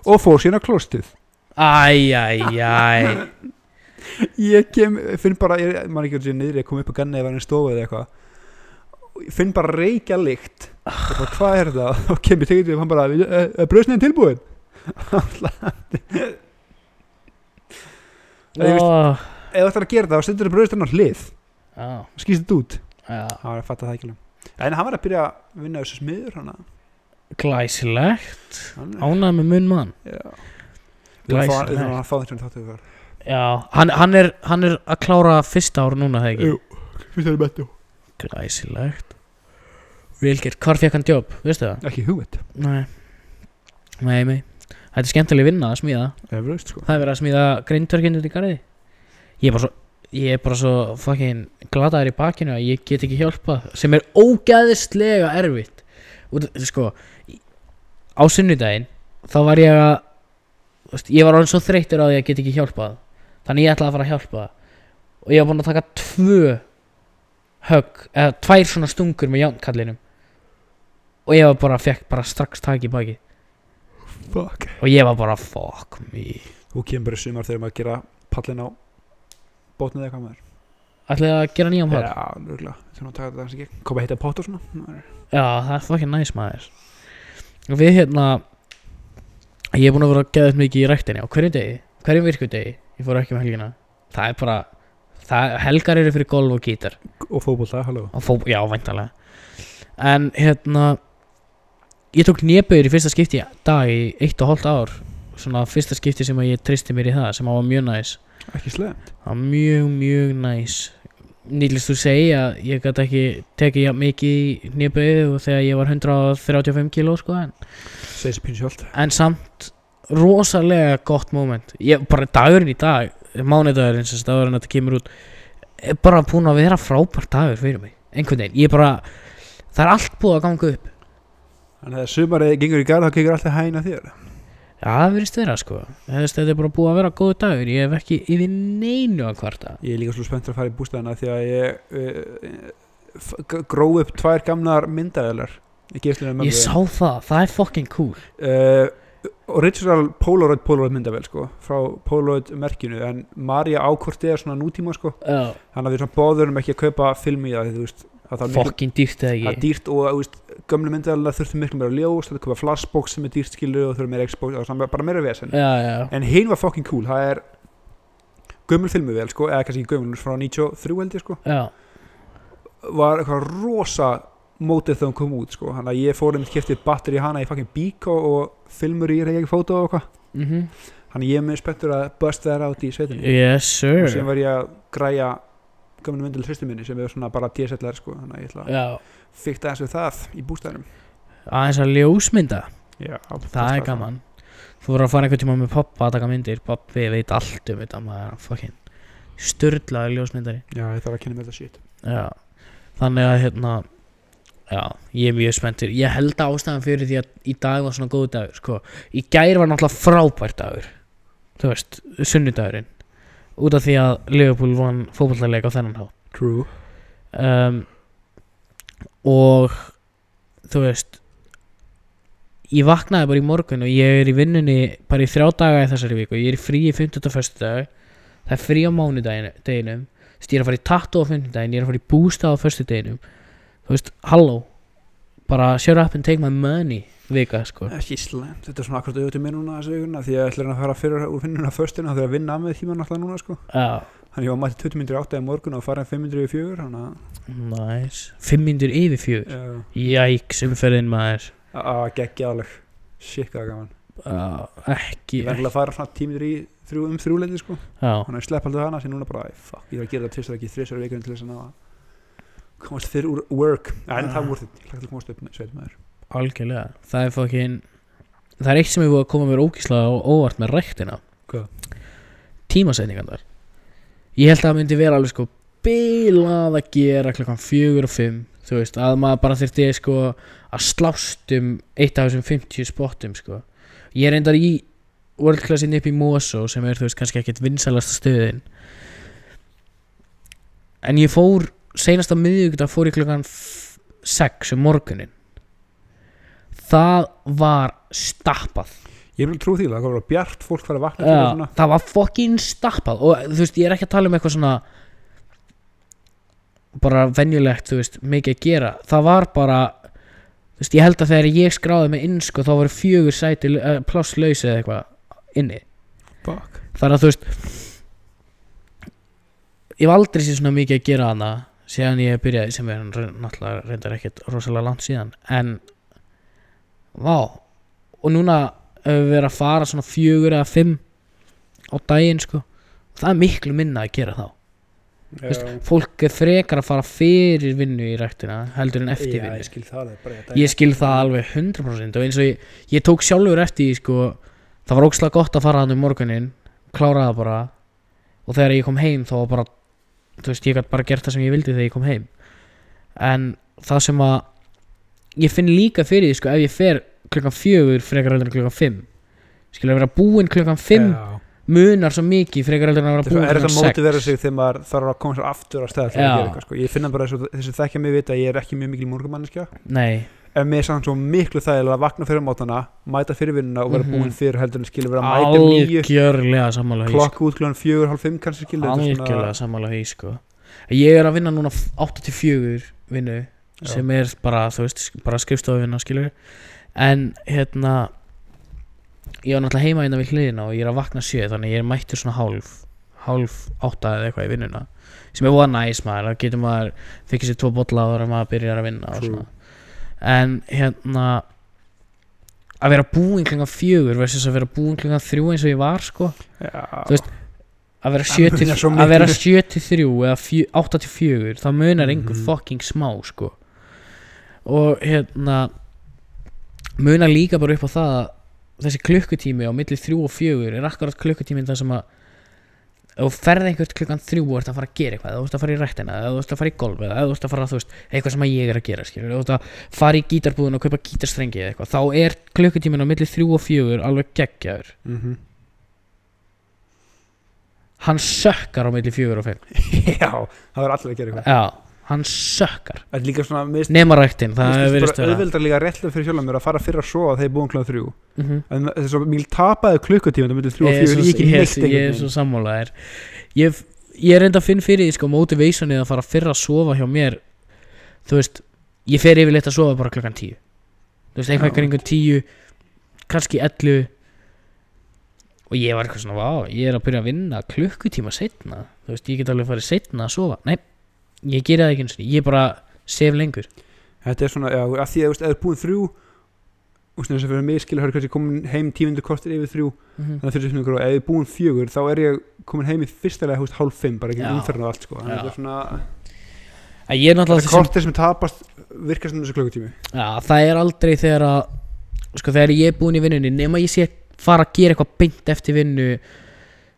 og fór sína klostið
Æ, æ, æ
ég kem, finn bara, ég man ekki að sé niður ég kom upp á ganni eða hann stofu eða eitthvað Og ég finn bara reykja líkt og bara hvað er það og kem ég tegir og hann bara, bröðsniðin tilbúin Ég veist-
Ó,
ef þú ætlar að gera það, þá stendur bröðsniðin á hlið
Já,
skýst þetta út
já
hann var að fatta það ekki alveg en hann var að byrja að vinna þessu smiður hann
Glæsilegt
hann
Ánægð með mun mann
já. við þurfum að fá-
Glæsilegt.
við þurfum að fá þetta þáttu ykkar
Já, hann, hann, er, hann er að klára fyrsta ár núna, það ekki?
Jú. fyrst er betjó
Glæsilegt Vilgert, hvar fekk hann jobb, veistu það?
ekki hugveit
Nei Nei, nei Þetta er skemmtileg vinna að smíða
Everest sko
Það er verið að smíða grindverkinu út í garði Ég er bara svo Ég er bara svo fucking glataður í bakinu að ég get ekki hjálpa sem er ógæðislega erfitt Út, sko á sunnudaginn þá var ég að þú veist, ég var alveg svo þreyttur á því að ég get ekki hjálpað þannig ég ætlaði að fara að hjálpa og ég var búinn að taka tvö högg, eða tvær svona stungur með jánkallinum og ég var bara, fekk bara strax tak í baki
fuck
og ég var bara, fuck me
þú kemur bara í sumar þegar maður gera pallin á bótnið eða hvað maður
Ætlaði að gera nýjan pall?
já, nörgulega við þurfum að taka þetta aðeins ekki koma að hitta pott og svona
Já, það er fucking næs maður Og við hérna Ég er búin að vera að geða upp mikið í ræktinni Á hverju degi, hverjum virku degi Ég fór ekki um helgina Það er bara, það, helgar eru fyrir golf og gítar
og fótbolta, halló
og fó, Já, væntalega En hérna Ég tók néböður í fyrsta skipti í dag Í eitt og hálft ár Svona fyrsta skipti sem að ég tristi mér í það Sem að var mjög næs
ekki slemt
Það var mjög, mjög næs Nýtlist þú segja að ég gæti ekki tekið jafn mikið í nýböðu og þegar ég var 135 kíló sko en,
segir sér pínu sjálft
en samt rosalega gott moment ég, bara dagurinn í dag, mánudagurinn sem sagt, dagurinn að þetta kemur út er bara búin að vera frábært dagur fyrir mig einhvern veginn, ég bara það er allt búið að ganga upp
þannig að sumarið gengur í garð þá gengur alltaf hæna þér
Já, það verðist vera sko Þess, Þetta er bara búið að vera góð dagur Ég hef ekki yfir neinu að kvarta
ég er líka svo spenntur að fara í bústæðina því að ég uh, f- g- gróf upp tvær gamnar myndaðilar í gefslunum
Ég sá það, það er fucking cool
uh, original Polaroid Polaroid myndavel sko, frá Polaroid merkinu en Marja ákortið er svona nútíma sko
Já,
þannig að við svona bóðurum ekki að kaupa film í það því þú veist að það er miklu-
fokkin dýrt eða
það er
ekki
dýrt og þú veist, gömlu myndavelna þurftum miklu meira ljós þurftum að kaupa flashbox sem er dýrt skilu og þurftum meira xbox og svona bara meira vesen
Já, já,
en hinn var fucking cool það er gömul filmuvel sko eða kannski ekki gömul hún er frá 93 held ég sko
já
var eitthvað rosa mótið þegar hún kom út sko þannig að ég fór um skiptið batteri hana í fucking bíko og filmur í reyngi fótó og eitthvað
mhm
Þannig ég er mjög spenntur að bust þær átt í sveitinni
Yes sir
og síðan var ég að græja gömlu myndil sýstu minni sem er svona bara DSLR sko þannig að ég ætla að
Já,
fykta þessu það í bústæðinum
aðeins að ljósmynda
Já,
Það er gaman Þú voru að fara einhvern tíma með pappa að taka myndir Pappi veit allt um þetta maður er fucking Sturlaður ljósmyndari
Já, ég þarf að kynna með þetta shit
Já Þannig að hérna Já, ég er mjög spenntur Ég held að ástæðan fyrir því að í dag var svona góð dagur sko. Í gær var náttúrulega frábær dagur Þú veist, sunnudagurinn Út af því að Liverpool vann fótballleik á þennan há
True
um, og þú veist ég vaknaði bara í morgun og ég er í vinnunni bara í þrjá daga í þessari viku ég er í frí í 50 og 1. dag það er frí á mánudeginum ég er að fara í tattu á 50 daginn ég er að fara í bústa á 1. deginum þú veist, halló bara shut up and take my money vika sko
Ekki slæmt, þetta er svona akkurat auðvitað mér núna þessu vikuna því að ég ætla að fara fyrir úr finnuna föstina þegar að vinna að með tíma náttúrulega núna sko
já,
Þannig ég var mætti 20 myndir átt eða morgun og farin 5 myndir í fjögur þannig að
nice 5 myndur yfir fjögur
já,
jæks umferðin maður
að geggja alveg Shit, hvað er gaman
já, ekki
Ég verður að fara svona 10 myndir í þrjú um þrjúleiti sko
já,
þannig að slepp aldrei hana sem núna bara æ, fuck, ég þarf að gera það tvisar ekki þrisar vikunum til þess að ná að komast fyrr úr work en
Ah.
það voru þetta, ég hlakka til að komast upp sveit maður
Algjörlega, það er fokkin Það er eitt sem er búið að koma mér ógíslega og óvart með ræktina
Hvað?
Tímasetningarnar Ég held að það myndi vera alveg sko bilað að gera klokkan fjögur og fimm Þú veist, að maður bara þyrfti sko að slást um eitt af þessum 50 spottum sko Ég er endar í World Classin upp í Mosó sem er þú veist kannski ekkert vinsalasta stöðin En ég fór, seinasta miðvíkudag fór ég klokkan f- sex um morgunin það var stappað
ég vil trú því að það var bjart, fólk fara að vakna fyrir
Já,
svona,
það var fokkin stappað og þú veist, ég er ekki að tala um eitthvað svona bara venjulegt, þú veist, mikið að gera það var bara þú veist, ég held að þegar ég skráði mig inn sko, þá voru fjögur sæti eh, plásslaus eða eitthvað inni
fuck
þar að þú veist ég hef aldrei séð svona mikið að gera hana síðan ég byrjaði sem er náttúrulega reyndar ekkert rosalega langt síðan en vá og núna hefur við verið að fara svona fjögur eða fimm á daginn sko það er miklu minna að gera þá veist,
Já.
fólk er frekar að fara fyrir vinnu í ræktina heldur en eftir
já,
vinnu
ég skil það alveg bara þetta
ég skil það alveg 100% og eins og ég, ég tók sjálfur eftir því, sko, það var ókslega gott að fara hann um morgunin, kláraði það bara og þegar ég kom heim þá var bara þú veist, ég gætt bara gert það sem ég vildi þegar ég kom heim en það sem að ég finn líka fyrir því, sko, ef ég fer klukkan fjögur frekar heldur en klukkan fimm skilur að vera búinn klukkan fimm
Já.
munar svo mikið frekar heldur en að vera
Þetta er svo
búinn
erfitt að móti
klukkan
vera
sex
sig þegar maður þarf að koma sér aftur á stæða til
Já.
að gera eitthvað sko. ég finna bara þessu, þessu þekkja mig vita að ég er ekki mjög mikil morgumanniska
nei,
en mér er samt svo miklu þægilega að vakna fyrir mótana mæta fyrir vinnuna og vera
Mhm.
búin fyrir heldur en skilur vera að mæta um nýju
algjörlega sammála því, sko.
klokk út klukkan fjögur, hálf fimm kannski skilur þetta er svona-
algjörlega sammála því sko ég er að vinna núna 8-4 vinnu
Já.
sem er bara, þú veist, sk- bara skrifstofuvinna skilur en hérna ég var náttúrulega heima innan við hliðina og ég er að vakna 7 þannig að ég er mættur svona hálf hálf átta eða eitthvað í vinnuna sem er voða næs maður, þá getur maður þykir sér tvo bolla áður en maður byrjar að vinna og
True.
svona en hérna að vera búinn klingan fjögur versus að vera búinn klingan þrjú eins og ég var sko
Já.
Þú veist, að vera
Það
7 til-
munar svo
að vera
miklu.
7 til 3 eða fjö- 8 til 4 það munar einhver
Mhm.
fucking smá sko og hérna munar líka bara upp á það að þessi klukkutími á milli 3 og 4 er akkurat klukkutímin þar sem að ef þú ferð einhvert klukkan 3 og ert að fara að gera eitthvað eða þú ert að fara í rættina eða þú ert að fara í golf eða þú ert að fara þú veist, eitthvað sem að ég er að gera skilur, þú ert að fara í gítarbúðun og kaupa gítarstrengi eða eitthvað þá er klukkutímin á milli 3 og 4 alveg geggjaður
Mhm.
hann sökkar á milli 4 og 5
Já, það er allir að gera eitthvað
Já, hann sökkar
Það er líka svona mist,
nema ræktin, það hefur verið
bara
stöða
auðveldar líka réttlega fyrir sjálfum mér að fara fyrir að sofa þegar ég er búin kláð þrjú
mm -hmm.
en það er svo mikil tapaði klukkutíma það myndi þrjú og
ég, er
fjör,
svo-
ég ekki
ég, er
neitt
svo- ég er
einhvern
svo sammálaðir ég, ég er enda að finn fyrir því sko motivationið að fara fyrr að sofa hjá mér þú veist, ég fer yfirleitt að sofa bara klokkan tíu þú veist,
Já.
einhvern kringum tíu kannski ellu og ég var eitthvað svona, vá, ég er að byrja að vinna klukkutíma setna, þú veist, ég get alveg farið setna að sofa, nei, ég gera það ekki einu sinni, ég bara sef lengur
Þetta er svona, já, að því að þú veist, ef þú er búin þrjú og þess að fyrir mig skilur hörðu kannski komin heim tímundu kortir yfir þrjú
Mhm.
þannig að fyrir þessum ykkur og ef ég er búin fjögur þá er ég komin heim í fyrstilega húst hálf fimm bara ekki
Já.
umferðin og allt sko
Já.
þannig að þetta er svona,
að ég er náttúrulega
þetta
þessi sem
kortir sem tapast virkar sem þessu klukkutími
Já, það er aldrei þegar að sko þegar ég er búinn í vinnunni nema ég sé að fara að gera eitthvað beint eftir vinnu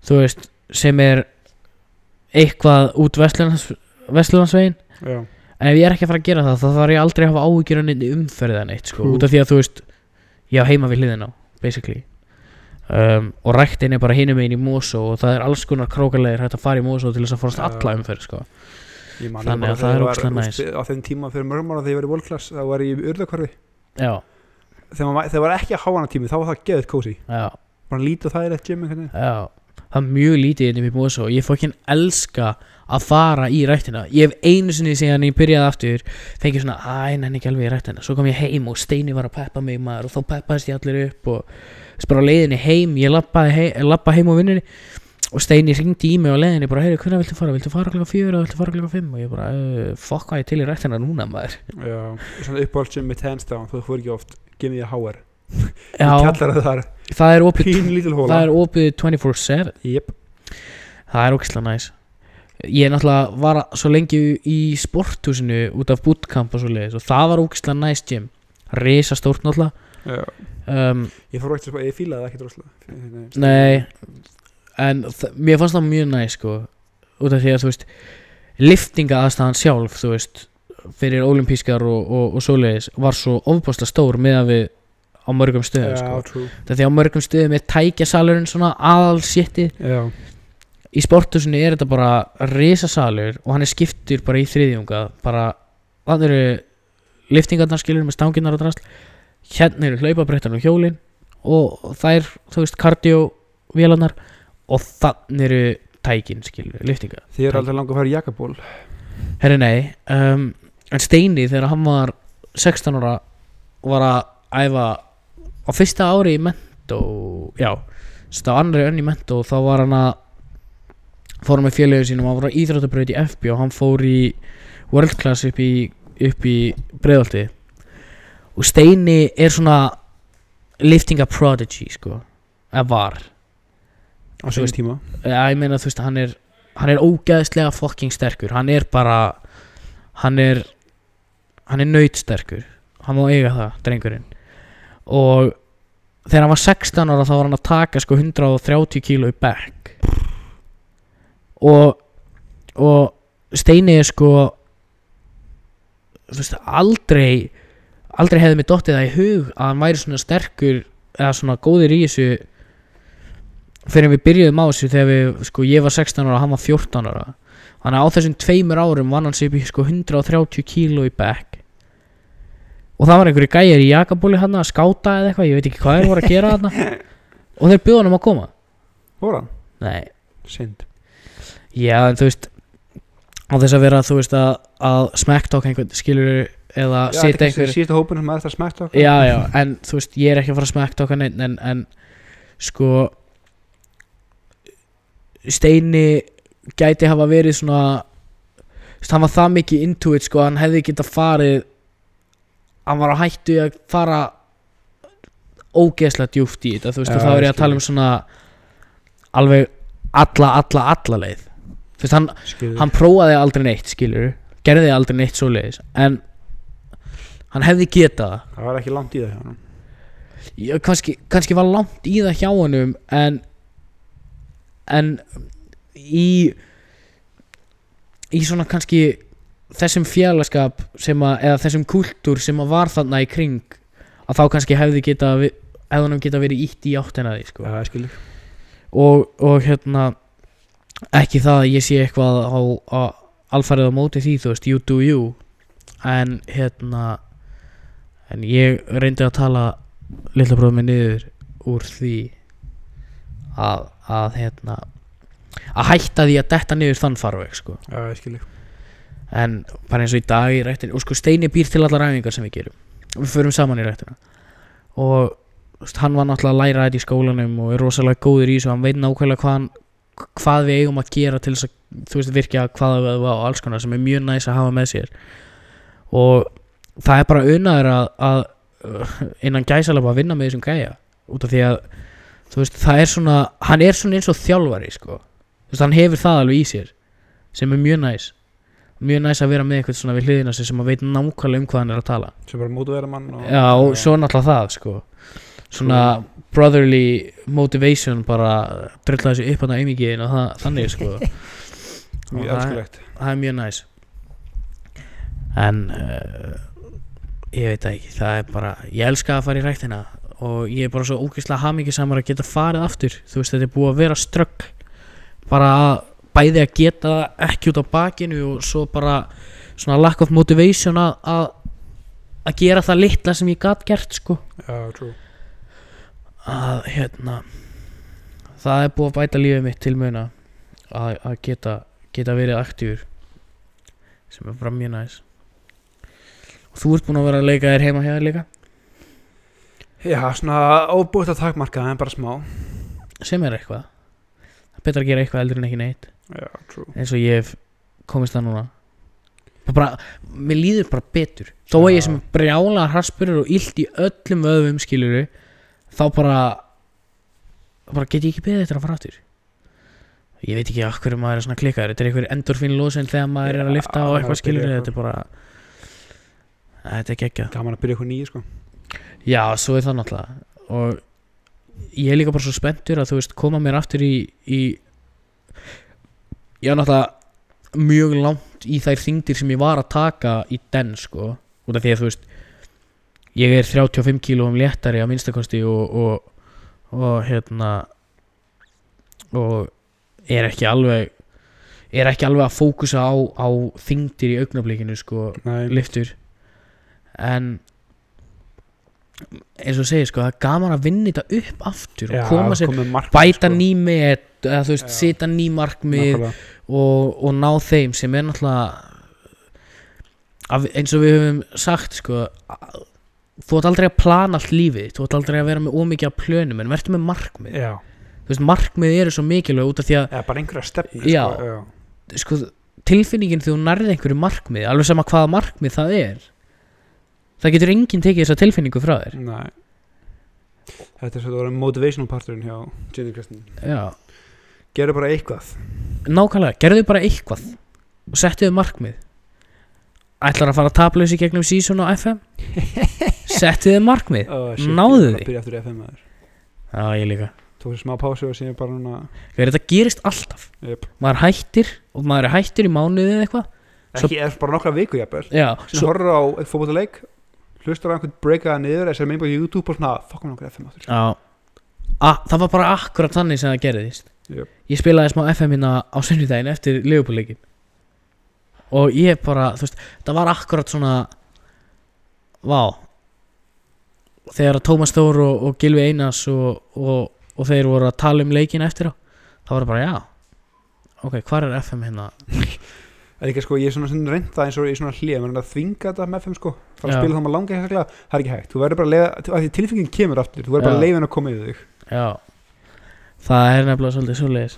þú veist sem er eitthvað út Vestlunans, Vestlunasvegin
já,
en ef ég er ekki að fara að gera það þá þarf ég aldrei að hafa áhyggjur áhugjur en umferðan eitt sko,
True.
út af því að þú veist ég á heima við hliðina á, basically um, og ræktin er bara hinum einn í Mosó og það er alls konar krókalegir hægt að fara í Mosó til þess að forast
Já.
alla umferð sko.
ég man
Þannig
bara
að það
þegar
er
ég var,
ógeðslega
þú veist, á þeim tíma fyrir mörgum ára þegar ég var í volklass þá var ég í urðakvarfi
já,
þegar maður- þegar var ekki að háana tími þá var það geðið kósi
já
bara lítið það er eitt gym einhvern veginn
Já, það er mjög lítið inn í mér búið svo Ég fokkin elska að fara í rættina Ég hef einu sinni síðan ég byrjaði aftur Fengið svona, æ, nenni ekki alveg í rættina Svo kom ég heim og Steini var að peppa mig maður Og þá peppaðist ég allir upp Og þess bara á leiðinni heim, ég labbaði heim, labba heim á vinnunni Og Steini ringdi í mig á leiðinni Bara, heyri, hvernig viltu fara? Viltu fara klokka fjögur eða viltu fara klokka fimm? Og ég bara, "Eh, fuck hvað ég er til í rættina núna maður
Já, svona uppáhaldsum mitt hands down þú fór ekki oft, give me a hour ég
Já,
kallar það þar,
það er opið
pín lítil hóla
Það er opið 24-7
Jep,
Það er ógislega næs Ég náttúrulega var svo lengi í sporthúsinu út af bootcamp og svo leiðis og það var ógislega næs gym Risa stórt náttúrulega
já.
um,
ég fór ekki að ég fílaði það ekki droslega
Nei En þ- mér fannst það mjög næs sko út af því að þú veist liftinga aðstæðan sjálf þú veist fyrir olimpískar og, og, og svoleiðis var svo ofbáslega stór meðan við á mörgum stöðum
já,
sko.
true
Það því á mörgum stöðum er tækjasalurinn svona aðalséttið
já,
í sporthúsinu er þetta bara risasalur og hann er skiptur bara í þriðjunga bara, það eru liftingarnar skilur með stanginnar og drasl hérna eru hlaupabrettan og hjólin og þær, þú veist, kardióvélarnar og þann eru tækin skilur, liftinga
þið eru alltaf langt að fara í jakaból
herri nei, um, en Steini þegar hann var 16 ára var að æfa á fyrsta ári í mentó já, stá annari önn í mentó þá var hann að fór hann með félögum sínum, hann var á íþróttabraut í FB og hann fór í world class upp í, upp í breiðalti og Steini er svona liftinga prodigy sko, eða var
á
Þú
sínum
veist-
tíma
Já, ég meina þú veist, hann er hann er ógeðslega fucking sterkur hann er bara hann er hann er nautsterkur hann má eiga það, drengurinn og þegar hann var 16 ára þá var hann að taka sko 130 kíló í back og og Steini er sko þú veist, aldrei aldrei hefði mér dottið það í hug að hann væri svona sterkur eða svona góður í þessu fyrir við byrjuðum á þessu þegar við, sko, ég var 16 ára og hann var 14 ára þannig að á þessum tveimur árum vann hann sér upp í sko 130 kíló í back og það var einhverju gæjar í jakabóli hann að skáta eða eitthvað, ég veit ekki hvað þeir voru að gera hann og þeir bjóðanum að koma
fór hann,
nei,
synd
já en þú veist á þess að vera þú veist að, að smekktók einhvern skilur eða sita einhver
síðasta hópin sem maður eftir að smækta
já já, en þú veist ég er ekki að fara að smekktóka neitt en, en sko Steini gæti hafa verið svona þú veist, hann var það mikið into it sko, hann hefði geta farið hann var á hættu í að fara ógeðslega djúft í þetta þú veist,
Já,
og þá er ég
ég
að tala um svona alveg alla, alla, alla leið þú veist, hann,
skilur,
hann prófaði aldrei neitt skilur, gerði aldrei neitt svoleiðis en hann hefði getað það.
það var ekki langt í það hjá hann
Já, kannski, kannski var langt í það hjá honum en en í í svona kannski þessum fjarlaskap sem að, eða þessum kúltúr sem að var þarna í kring að þá kannski hefði geta vi- hefði honum geta verið ítt í áttina að því sko.
já, ég skilur,
og, og hérna ekki það að ég sé eitthvað á, á, alfarið á móti því þú veist, you do you en hérna en ég reyndi að tala litla bróðum mig niður úr því að, að hérna að hætta því að detta niður þann farveg sko
Já, ég skil ég
en bara eins og í dag í rættin og sko Steini býr til allar æfingar sem við gerum og við förum saman í rættina og þú veist, hann var náttúrulega að læra þetta í skólanum og er rosalega góður í þessu hann veit nákvæmlega hvað, hann, hvað við eigum að gera til þess að þú veist virkja hvað við á og alls konar sem er mjög næs að hafa með sér og það er bara unnaður að, að uh, innan gæsalapa að vinna með þessum gæja út af því að þú veist það er svona hann er svona eins og þjálfari sko þú veist hann hefur það alveg í sér sem er mjög næs mjög næs að vera með eitthvað svona við hliðina sér sem að veit nákvæmlega um hvað hann er að tala
Sem bara mótu vera mann og,
já og svo náttúrulega það sko svona brotherly motivation bara drilla þessu upp hann að einmigiðin og það, þannig sko
Mjög
og það-
elskulegt
það er mjög næs en uh, ég veit það ekki það er bara, ég elska að fara í ræktina og ég er bara svo ógeðslega hamingisamur að geta farið aftur, þú veist þetta er búið að vera ströggl bara að bæði að geta það ekki út á bakinu og svo bara svona lack of motivation að að, að gera það litla sem ég gat gert sko
Já, true
að hérna það er búið að bæta lífið mitt til muna að, að geta, geta verið aktífur sem er bara mjög næs og þú ert búin að vera að leika þér heima hjá þér líka
Já, svona óbúið að takmarka en bara smá
sem er eitthvað það er betra að gera eitthvað eldur en ekki neitt
Já, true
eins og ég hef komist það núna Það bara, mér líður bara betur þó að ég
Já.
sem brjála harspurur og illt í öllum öðum skiluru þá bara bara get ég ekki beðið eftir að fara aftur ég veit ekki af hverju maður er svona klikkaður þetta er einhver endorfín lósin þegar maður er að
Já,
lifta og
maður
eitthvað skiluru
byrjar
þetta er bara þetta er geggja
Gaman að byrja eitthvað nýju, sko
já, svo er það náttúrulega og ég er líka bara svo spenntur að þú veist koma mér aftur í, í ég er náttúrulega mjög langt í þær þingdir sem ég var að taka í den sko út af því að þú veist ég er 35 kílóum léttari að minnstakosti og, og, og hérna og er ekki alveg er ekki alveg að fókusa á, á þingdir í augnablikinu sko
Nei,
liftur en eins og segir sko það er gaman að vinna þetta upp aftur og koma sér,
komið markmið,
bæta
sko.
ný met eða þú veist,
Já.
setja ný markmið og,
Nákvæmlega.
og ná þeim sem er náttúrulega af, eins og við höfum sagt sko að- þú ert aldrei að plana allt lífið þú ert aldrei að vera með ómikið að plönum en verður með markmið
Já,
þú veist, markmið eru svo mikilvæg út af því að
eða bara einhverja stefnu
Já.
sko. Já,
sko, tilfinningin þegar þú nærði einhverju markmið alveg sama hvaða markmið það er það getur enginn tekið þessa tilfinningu frá þér
Nei Þetta er svo að það var motivational parturinn hjá Jenny Kristin
já,
Gerðu bara eitthvað
nákvæmlega, gerðu bara eitthvað og settu þau markmið ætlar að fara taplaus í gegnum season á FM settu þau markmið
oh,
Náðu því.
Ég er bara að byrja aftur í FM aður
já, ég líka
Tók sér smá pásu og síðan bara núna
Þegar þetta gerist alltaf,
yep.
maður hættir og maður er hættir í mánuðið eða eitthvað Svo-
Ekki, er bara nokkra viku jafnvel
já,
Svo
svo,
horfður á eitt fótboltaleik Hlustar á einhvern breakaða niður Eða sér með einhvern YouTube og svona "Ah, Fuck með nokkra FM aftur
já A, það var bara akkurat þannig sem það gerðist
Jöp.
ég spilaði smá FM hérna á sunnudaginn eftir Leopoldleikin og ég bara, þú veist, það var akkurat svona vá þegar að Tómas Þór og, og Gilvi Einars og, og, og þeir voru að tala um leikin eftir á þá var það bara, já ok, hvar er FM hérna?
En ekki sko, ég er svona svona reynd það eins og í svona hlið Mér er að þvinga þetta með FM sko Fara
Já.
að spila þá maður langa eitthvað Það er ekki hægt Þú verður bara að leiða af Því tilfengin kemur aftur Þú verður bara
Já.
að leiða henni að koma yfir þig
já, það er nefnilega svolítið svoleiðis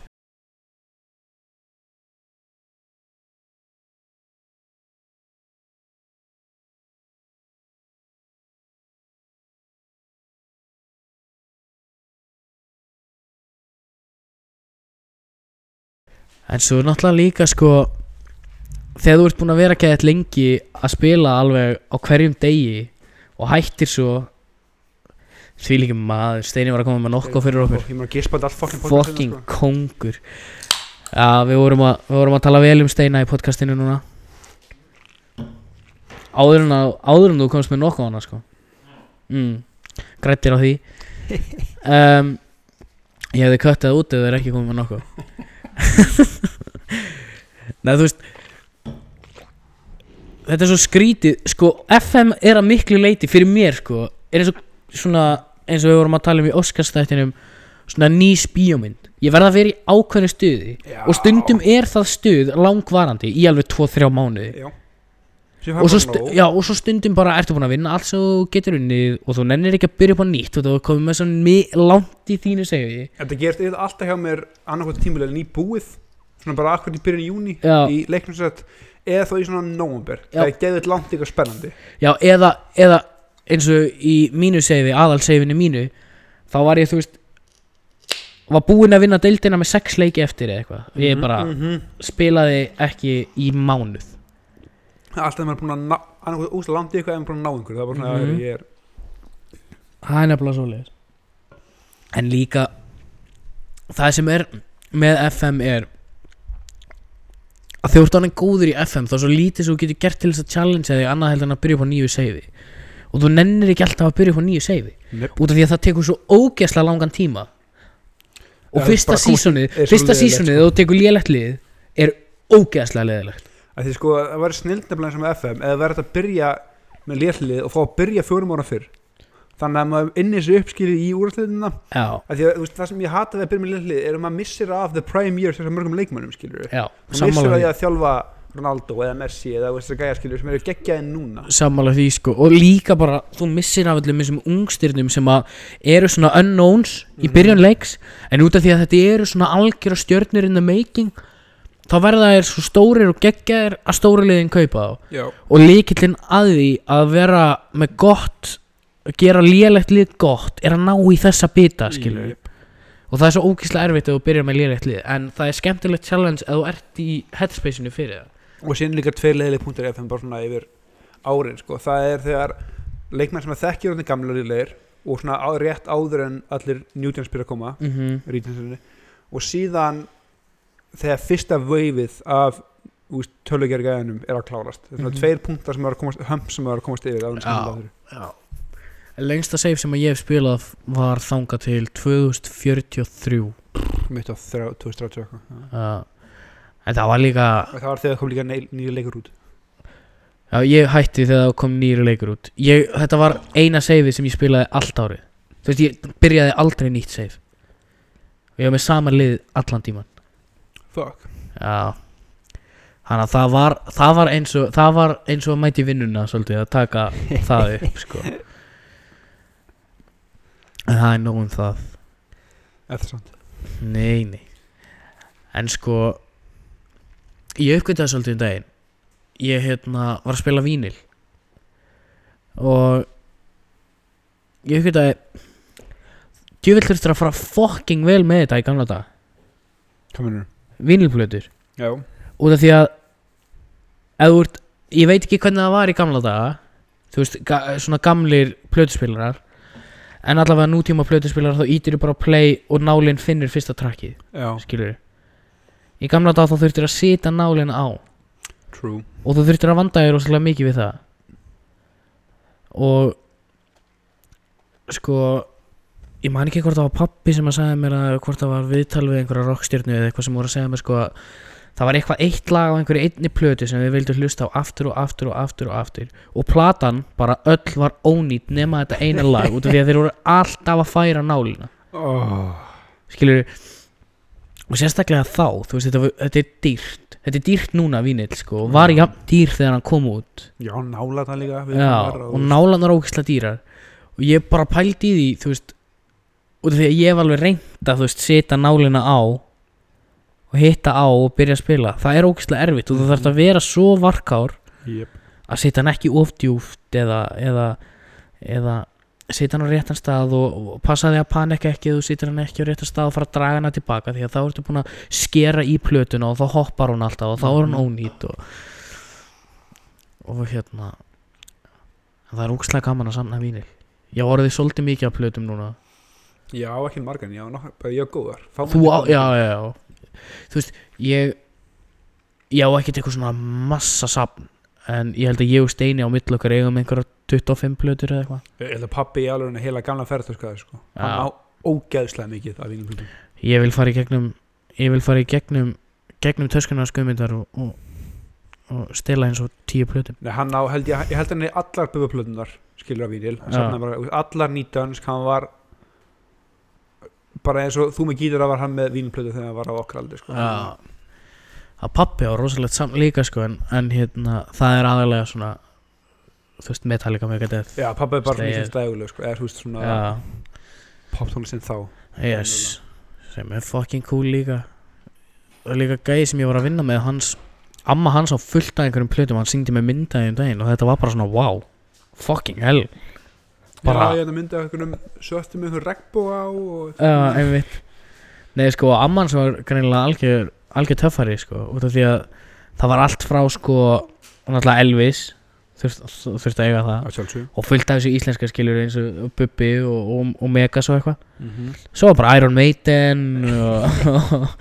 En svo er náttúrulega líka sko þegar þú ert búin að vera gæðið lengi að spila alveg á hverjum degi og hættir svo því líka maður Steini var að koma með nokko fyrir okkur
Ég mér að gispa þetta allt fucking sko. podcastið,
fucking kongur Já, við vorum, að, við vorum að tala vel um Steina í podcastinu núna Áður en, að, áður en þú komst með nokkuð á hana sko mm, Grættir á því um, Ég hefði köttið það út ef þeir ekki komið með nokkuð Nei, þú veist þetta er svo skrítið sko, FM er að miklu leiti fyrir mér sko, er eins og svona eins og við vorum að tala um í Oscarstættinum svona nýs bíómynd ég verða að vera í ákveðnu stuði
Já.
og stundum er það stuð langvarandi í alveg 2-3 mánuði
Já Sér
og
fær
svo,
bara
stu,
nóg.
já, og svo stundum bara ertu búin að vinna allt sem þú getur unnið og þú nennir ekki að byrja upp á nýtt og þú er komið með svona mi- langt í þínu segju
Þetta gerist yfir alltaf hjá mér annarkvæmt tímulega nýbúið svona bara akkur í byrjun í júni
Já.
í leiknum sett eða þá í svona nómumber
Já.
það er geðið langt ykkur spennandi
Já, eða, eða eins og í mínu seifi, aðalseifinu mínu þá var ég, þú veist var búinn að vinna deildina með sex leiki eftir eða eitthvað ég bara
-hmm.
spilaði ekki í mánuð
alltaf maður er búin að ná annarkvæmt úsla langt í eitthvað eða búin að ná einhverju það er bara svona
Mhm.
ég er
Það er nefnilega svoleiðis En líka það sem er með FM er að þegar þú ert annað góður í FM þá er svo lítið sem þú getur gert til þess að challenge þig annað heldur en að byrja upp á nýju seifi og þú nennir ekki alltaf að byrja upp á nýju seifi
Nefn.
út af því að það tekur svo ógeðslega langan tíma og
Já,
fyrsta
bara komast-
sísonið
er svo
fyrsta
leiðilegt,
sísonið þegar þú tekur lélegt lið er ógeðslega leðilegt
að því sko það væri snild nefnilega eins og með FM eða verið að byrja með létlið og fá að byrja fjórum ára fyrr þannig að maður inni sér uppskilið í úrastliðina
Já,
að því að þú veist, það sem ég hata við að byrja með létlið er að maður missir af the prime years þessar mörgum leikmönnum skilur
já,
Hún missir
sammála
að ég
því
að þjálfa Ronaldo eða Messi eða þessar gæjarskilur sem eru geggjaði núna
sammála því sko og líka bara þú missir af öllum þessum ungstyrnum sem að eru svona unknowns í byrjun leiks en út af því að þetta eru svona algjör stjörnir in the making þá verða þær svo stórir og geggjaðir að stóri liðin kaupa þá
Já,
og líkillinn að því að vera með gott að gera lélegt lið gott er að ná í þessa bita skilur
Jep.
og það er svo ógíslega erfitt ef þú byrjar með lélegt lið en það er skemmtilegt challenge ef þú ert í headspace-inu fyrir það
og síðan líka tveir leiðileg punktur ef þeim bara svona yfir árin sko. það er þegar leikmenn sem að þekkja orðin gamla liðleir og svona á, rétt áður en allir Newtons byrja að koma
mm
rítjansinni, og síðan þegar fyrsta vöfið af tölugjörgæðinum er að klárast það er svona
Mhm.
tveir punktar sem eru að komast hömp sem eru að komast yfir áður en
Já.
skemmtilega áður.
lengsta save sem að ég hef spilað var þanga til 2043
mitt á þrjá- 2030 og eitthvað. Já.
uh, en það var líka
Og það var þegar kom líka neil- nýja leikur út
já, ég hætti þegar það kom nýri leikur út ég, þetta var eina save sem ég spilaði allt árið þú veist ég byrjaði aldrei nýtt save og ég var með sama lið allan tíman
fuck
já þannig að það var, það var eins og það var eins og að mæti vinnuna svolítið að taka það upp sko en það er nóg um það
eftir samt
Nei, nei En sko Ég uppgötaði svolítið um daginn Ég hérna var að spila vínil Og Ég uppgötaði Djövill þurftur að fara fucking vel með þetta í gamla dag
Kaminur.
Vínilplötur
já
Út af því að Ef þú ert Ég veit ekki hvernig það var í gamla daga Þú veist, ga svona gamlir plötuspilarar En allavega nútíma plötuspilarar Þá ítir bara á play og nálinn finnur fyrsta trakkið
já
skilur í gamla dag þá þurftir að sita nálina á og
true
þú þurftir að vanda þér rosalega mikið við það og sko ég man ekki hvort það var pappi sem að sagði mér að hvort það var viðtal við einhverja rockstjörnu eða eitthvað sem voru að segja mér sko að það var eitthvað eitt lag á einhverju einni plötu sem við vildum hlusta á aftur og aftur og aftur og aftur og platan bara öll var ónýtt nema þetta eina lag út af því að þeir voru alltaf að færa nálina
oh.
skilur og sérstaklega þá, þú veist, þetta, var- þetta er dýrt þetta er dýrt núna vínill sko og var
Já.
jafn dýr þegar hann kom út
já nála það líka við
Já,
var
og nálanar ógislega dýrar og ég bara pældi í því, þú veist út af því að ég hef alveg reynd að þú veist, setja nálina á og hitta á og byrja að spila það er ógislega erfitt og þú þarft að vera svo varkár
Jep.
að setja hann ekki ofdjúft eða, eða, eða setja hann á réttan stað og, og passa því að panika ekki eða þú setja hann ekki á réttan stað og fara að draga hana tilbaka því að þá ertu búin að skera í plötuna og þá hoppar hún alltaf og þá er hún ónýtt og, og hérna það er úkslega gaman að samna vínil ég á orðið svolítið mikið af plötum núna
já ekki margan já nokk bara ég á góðar Fá
þú á,
mér-
já, já, já þú veist, ég ég á ekkert eitthvað svona massa safn en ég held að ég og Steini á milli okkar eigum einhverja 25 plötur eða eitthvað
ég held að pappi í alveg heila gamla ferðarskaði sko
Já.
hann á ógeðslega mikið af vínum hlutum
ég vil fara í gegnum ég vil fara í gegnum gegnum töskuna skummyndar og, og, og stela eins og tíu plötum
Nei, hann á, held ég, ég held hann í allar bufaplötunar skilur af vínil, hann
Já.
safnaði bara allar nýtans, hann var bara eins og þú með gítara var hann með vínplötu þegar hann var á okkar aldrei sko.
Já að pappi á rosalegt samt líka sko en, en hérna það er aðalega svona þú veist Metallica Megadeth
Já, pappa er bara svona
Slegið.
íslensk dæguleg sko, eða þú veist svona ja.
Já,
poptónlistin þá
yes sem er fucking cool líka og líka gæði sem ég var að vinna með hans amma hans á fullt af einhverjum plötum hann syngdi með myndaði um daginn og þetta var bara svona wow fucking hell Bara-
Já, ég hefði myndið einhvernum söttum um með einhvern regnbóa á og
Já, einmitt Nei, sko, amman sem var greinilega algjör, algjör töffari, sko út af því að það var allt frá, sko náttúrulega Elvis þurft, þurft að eiga það
að sjálfsög
og fullt af þessu íslenska skilur eins og Bubbi og, og, og Megas og eitthvað
mm -hmm.
Svo var bara Iron Maiden og,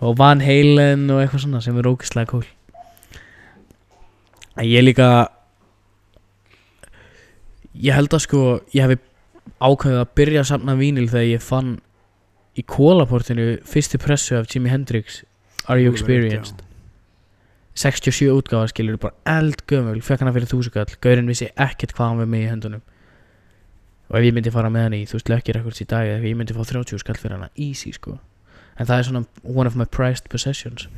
og Van Halen og eitthvað svona sem er ógeðslega cool En ég líka ég held að sko ég hefði ákveðið að byrja að samna vínil þegar ég fann í kólaportinu fyrstu pressu af Jimi Hendrix Are You Experienced 67 útgáfa skilur bara eldgömmul, fekk hana fyrir þúsugall gaurinn vissi ekkert hvað hann var með í höndunum og ef ég myndi fara með hann í þú veist lökkir ekkert í dag eða eitthvað, ég myndi fá 30 skall fyrir hana, easy sko en það er svona one of my prized possessions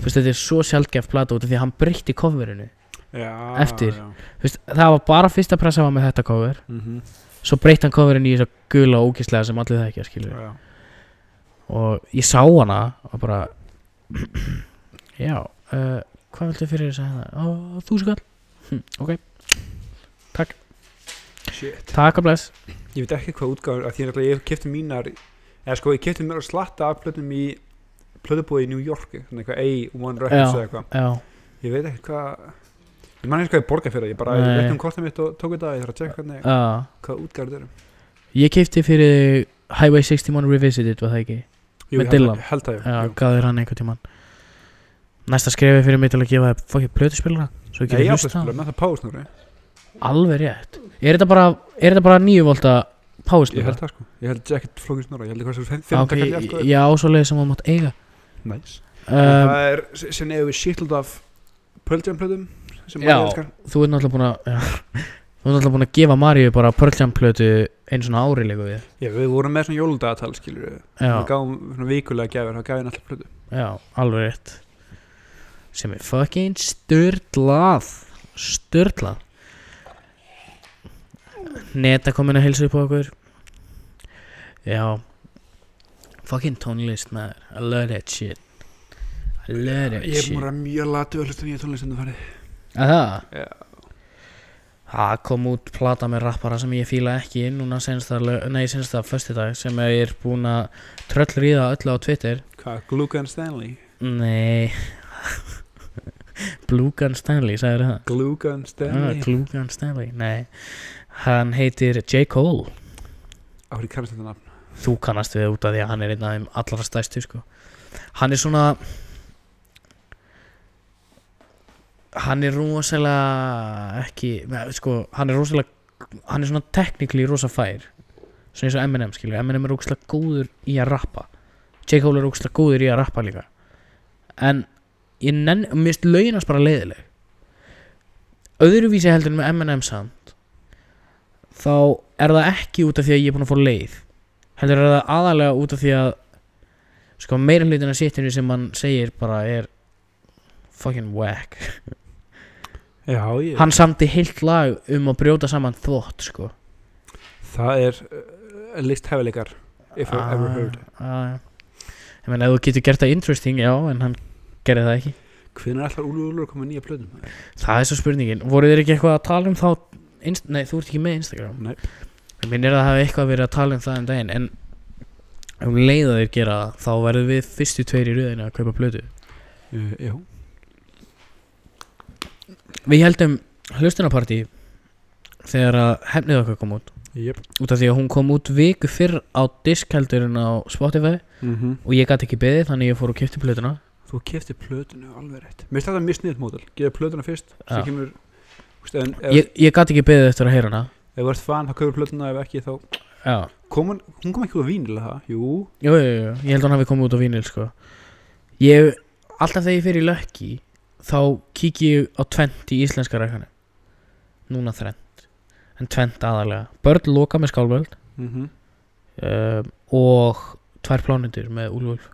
þú veist þetta er svo sjaldgæft plata út af því að hann breytti coverinu
Já,
Eftir.
já.
þú veist það var bara fyrsta pressa var með þetta cover
Mhm,
svo breytti hann coverinu í þess að gula og ógislega sem allir það ekki að skilur
já.
og ég sá hana og bara já uh, hvað viltu fyrir þess að hérna þú skall hm, ok,
Shit.
takk að bless
Ég veit ekki hvað útgáður að því að ég kefti mínar eða sko ég kefti mér að slatta af plötum í plötubóði í New York þannig eitthvað A1 Records
Já.
eða eitthvað
já,
ég veit ekki hvað ég man ekki hvað ég borga fyrir það ég bara
Nei.
ég ekki um kortið mitt og tók þetta ég þarf að tjekka hvernig
uh,
hvað útgáður þetta eru
ég keipti fyrir þig Highway 61 Revisited var það ekki
Jú,
Með
ég held að-
Dylan.
ég held að
já,
jú, jú.
gaf þér hann einhvern tímann næsta skrifi fyrir mig til að gefa þér fokkið plötuspilara svo
Nei,
ekki
ég
að hlusta
áfæðspilur
á hann.
með það pás núri
alveg rétt er þetta bara, er þetta bara 9 volta
ég
powerspilara?
held það sko ég held ekkert flókins núra ég held eitthvað sem
Já,
fyrir
ok,
takkar
ég
ég sko
ég á svo leið sem þú mátt eiga
næs
um,
það er sem ef við sýtlut af Pöldjum plötum sem
Já.
maður elskar
þú ert náttúrulega búin að já, þú ert náttúrulega búin að gefa Maríu bara Pearl plötu eins og ári líka við
Já, við vorum með svona jóludagatal, skilur við. Við
já,
gáum svona vikulega gefur, þá gaf ég alltaf plötu.
já, alveg rétt sem er fucking styrlað styrlað neta komin að heilsa upp á okkur já fucking tónlist maður I love that shit I love that
Ég er
shit
múra mjög latu að hlusta nýja tónlistundu farið.
Aha.
Já.
Það kom út plata með rappara sem ég fíla ekki núna senst að, lög- nei senst að föstudag sem ég er búin að tröllriða öllu á Twitter
Hvað, Glugan Stanley?
Nei Blúgan Stanley, sagður það?
Glugan
Ah,
Stanley?
Glúgan Stanley, nei Hann heitir J. Cole
Áhrif kannast þetta nafn.
Þú kannast við út af því að hann er einn af þeim allra stæstu sko Hann er svona Hann er rosalega ekki, með, sko, hann er rosalega hann er svona technically rosa fær svona eins og Eminem skilur Eminem er ógslag góður í að rappa J. Cole er ógslag góður í að rappa líka en ég nenn, mér finnst lögin hans bara leiðileg öðruvísi heldur en með Eminem samt þá er það ekki út af því að ég er búin að fá leið heldur er það aðalega út af því að sko meira hlutin af sittinu sem hann segir bara er fucking whack
Já, ég.
hann samti heilt lag um að brjóta saman þvott sko
Það er uh, listhæfileikar, if I've ever heard.
ah, ég meina ef þú getur gert það interesting já en hann gerði það ekki
Hvernig er alltaf Úlur Úlur að koma með nýja plötum?
það er svo spurningin voru þeir ekki eitthvað að tala um þá inst, nei þú ert ekki með Instagram
Nei.
ég minn er að það hafi eitthvað verið að tala um það um daginn en um leið að þeir gera það þá verðum við fyrstu tveir í röðinu að kaupa plötu
Uh, já.
Við heldum hlustunapartí þegar að hefnið okkar kom út
Jep.
út af því að hún kom út viku fyrr á disk heldur en á Spotify
Mm
og ég gæti ekki beðið þannig ég fór og kipti plötuna
Þú kefti plötunu alveg rétt. Mér finnst þetta misniðt módel. Geða plötuna fyrst,
Já.
svo kemur, þú veist, en ef,
ég, ég gæti ekki beðið eftir að heyra hana
ef þú ert fan, þá kaupir plötuna, ef ekki, þá
Já,
kom hún, hún kom ekki úr vínilega það, jú
jú, jú, jú, ég held að hann hafi komið út á vínil sko Ég, alltaf þegar ég fer í lökki þá kíki ég á tvent í íslenska rækjanu núna þrend en tvent aðalega börn loka með skálvöld
mm
um, og tvær plánutur með Úlfur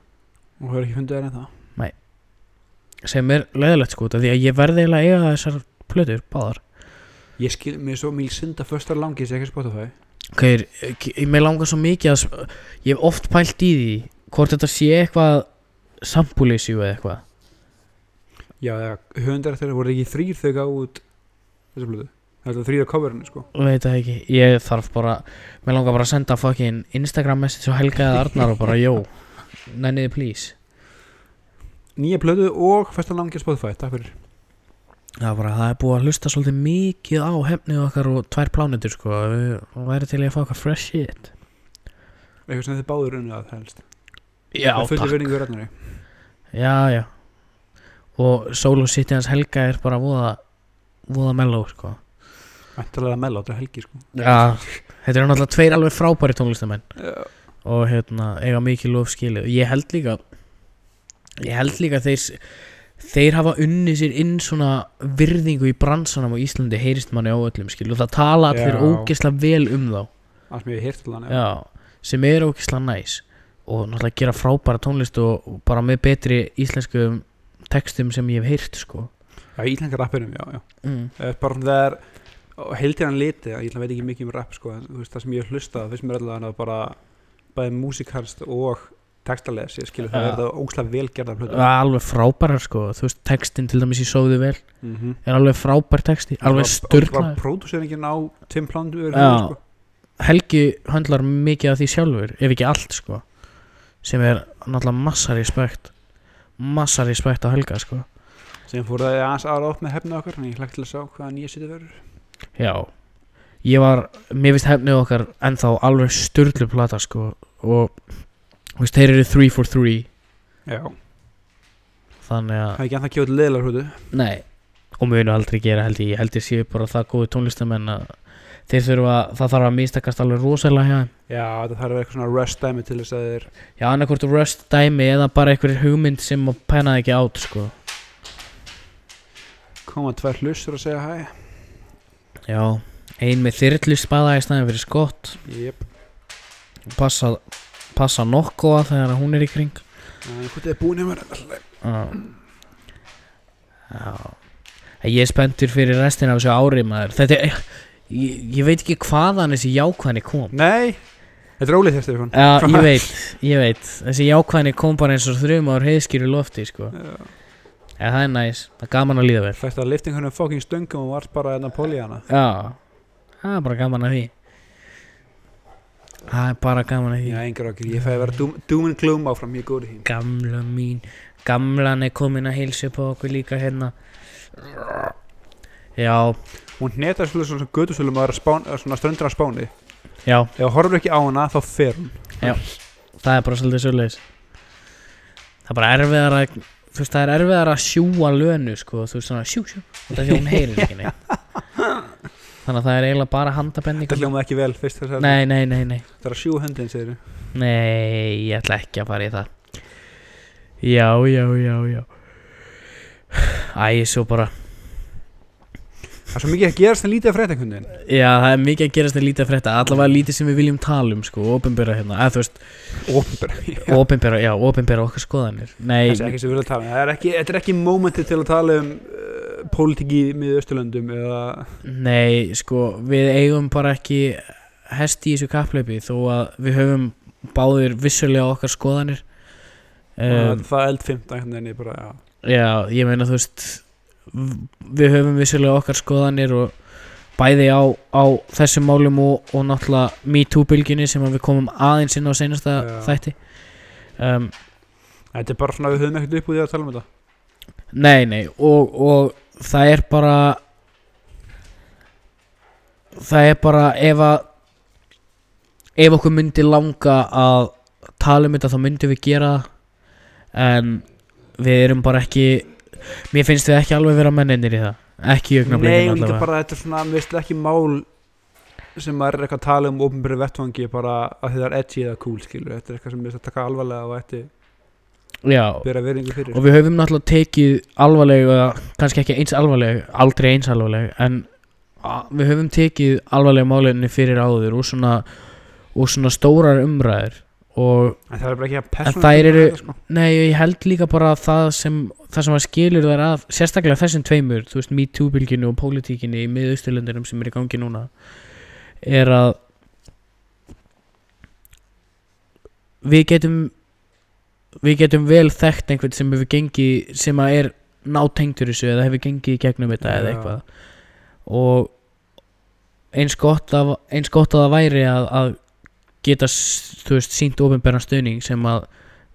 og hefur ekki fundið þær en það
sem er leðilegt sko út af því að ég verði eiginlega að eiga þessar plötur báðar
ég skil mér er svo mjög synda förstar langið sem ekki Spotify
ok, er- k- mér langar svo mikið að s- ég hef oft pælt í því hvort þetta sé eitthvað sampulísju eða eitthvað
já, já, höfundar þeirra voru ekki þrýr þau gá út þessu blöðu það er þrýr á coverinu sko
veit það ekki, ég þarf bara mér langar bara að senda fucking Instagram message og Helga eða Arnar og bara jó nenniði please
nýja blöðu og förstar langið á Spotify, takk fyrir
Já, bara það er búið að hlusta svolítið mikið á hefnið okkar og tvær plánutur sko og væri til í að fá okkar fresh shit
eitthvað sem þið báður unnið að helst
Já,
Með fullu virðingu fyrir Ragnari.
Já, já og solo city hans Helga er bara voða voða mellow sko
Væntanlega Mello, þetta er helgi sko
Já, þetta eru náttúrulega tveir alveg frábæri tónlistamenn
Já.
og hérna, eiga mikið lof skilið og ég held líka ég held líka að þeir þeir hafa unni sér inn svona virðingu í bransanum á Íslandi heyrist manni á öllum skilið og það tala allir
Já.
ógeðslega vel um þá
allt mér hýrt til hann já.
já, sem er ókislega næs og náttúrulega gera frábæra tónlist og og bara með betri íslenskum textum sem ég hef heyrt sko
já, íslenska rappirum, já, já
mm.
Eh, bara svona þegar og heldur hann liti, ég ætla veit ekki mikið um rap sko, en þú veist það sem ég hef hlustað, finnst mér allavega að bara bæði músikalst og textalega, ég skilur
Já.
það er það ógslag velgerða plötu
alveg frábærar sko þú veist textin til dæmis í sóðu vel
mm -hmm.
er alveg frábær texti, alveg
bara
styrlaður
pródúseringin á Tim Plantu er
Já.
sko.
Helgi höndlar mikið af því sjálfur ef ekki allt sko sem er náttúrulega massa respekt massa respekt á Helga sko
sem fór það aðeins aðra upp með hefnið okkar en ég hlægt til að sjá hvaða nýja sýti verður
Já Ég var, mér finnst hefnið okkar ennþá alveg styrlu plata sko og þú veist, þeir eru 3 for 3
já,
þannig
það
að,
er ekki að það kjóð leðilega hlutu
nei og munu aldrei gera held ég, ég held ég séu bara það góði tónlistamenn að þeir þurfa það þarf að mistakast alveg rosalega hjá þeim
já, það þarf að vera eitthvað svona rest dæmi til þess að þeir
Já, annarkvort röst dæmi eða bara einhver hugmynd sem að pennaði ekki át sko
koma tvær hlustur að segja hæ
Já, ein með þyrlu spaða í staðin fyrir skott
yep.
passa, passa nokkoa þegar hún er í kring
hvað er búin hjá mér Allt í
Já Já Ég er spenntur fyrir restina af þessu ári maður Þetta er Ég, ég veit ekki hvaðan þessi jákvæðni kom
lagi. nei, þetta er ólið þér Stefán
Já, ég veit, ég veit Þessi jákvæðni kom bara eins og þrjum ár heiðskýru lofti sko.
Já.
Já, það er næs, það er gaman að líða vel
Fæst að lifting hennum fóking stöngum og varst bara enna pól í hana
Já, það er bara gaman að því Það er bara gaman að því
Já, engar okkur, ég fæði að vera doom, doom and gloom áfram, ég er góður í því
Gamla mín Gamlan er komin að heilsa upp á okkur líka hérna Já,
Hún hnetar svolítið svona götusölum að vera spán, eh, svona ströndur á spáni
já
Ef þú horfur ekki á hana, þá fer hún
það er bara svolítið svolítið það er bara erfiðar að þú veist það er erfiðar að sjúa lönu sko, þú veist svona sjú sjú þetta því hún heyrir ekki neitt þannig að það er eiginlega bara handabending
Þetta hljómaði ekki vel, fyrst þess að
nei, nei, nei, nei
það er að sjú höndin, segir þú
nei, ég ætla ekki að fara í það já, já, já, já æ, svo bara
Það er svo mikið að gerast en lítið að frétta einhvern veginn
já, það er mikið að gerast en lítið að frétta allavega lítið sem við viljum tala um sko, opinbera hérna eða þú veist,
Ópenbæra
opinbera, já, opinbera okkar skoðanir nei,
Þessi ekki sem við erum að tala um Það er ekki, Þetta er ekki mómenti til að tala um uh, pólitík í miðausturlöndum eða
Nei, sko, við eigum bara ekki hest í þessu kapplaupi þó að við höfum báðir vissulega okkar skoðanir um,
um, það er eldfimt einhvern veginn er bara, já
Já, ég meina þú veist v- við höfum vissulega okkar skoðanir og bæði á, á þessum málum og, og náttúrulega MeToo-bylginni sem að við komum aðeins inn á seinasta
Já.
þætti um,
Þetta er bara svona, við höfum ekkert upp úr því að tala um þetta
Nei, nei, og, og það er bara það er bara ef að ef okkur myndi langa að tala um þetta þá myndum við gera það en við erum bara ekki mér finnst við ekki alveg vera menninir í það ekki í
Nei,
augnablikinu
líka
allavega
bara þetta er svona, mér veist ekki mál sem maður er eitthvað að tala um ofnbyrðu vettvangi bara að þið er edgy eða cool skilur, þetta er eitthvað sem mér veist að taka alvarlega og ætti
Já,
bera verðingu fyrir
og við höfum náttúrulega tekið alvarlega, kannski ekki eins alvarlega aldrei eins alvarlega en a- við höfum tekið alvarlega málinni fyrir áður og svona og svona stórar umræður og
en það er bara ekki að
En
persóna
þær eru-
sko.
nei, ég held líka bara að það sem það sem að skilur þær af, sérstaklega þessum tveimur, þú veist, MeToo-bylginu og pólitíkinni í miðausturlöndunum sem er í gangi núna er að við getum við getum vel þekkt einhvern sem hefur gengið sem að er nátengdur þessu eða hefur gengið í gegnum þetta eða
Já.
eitthvað og eins gott að, eins gott að það væri að, að geta s- þú veist sínt ofinberna stöðning sem að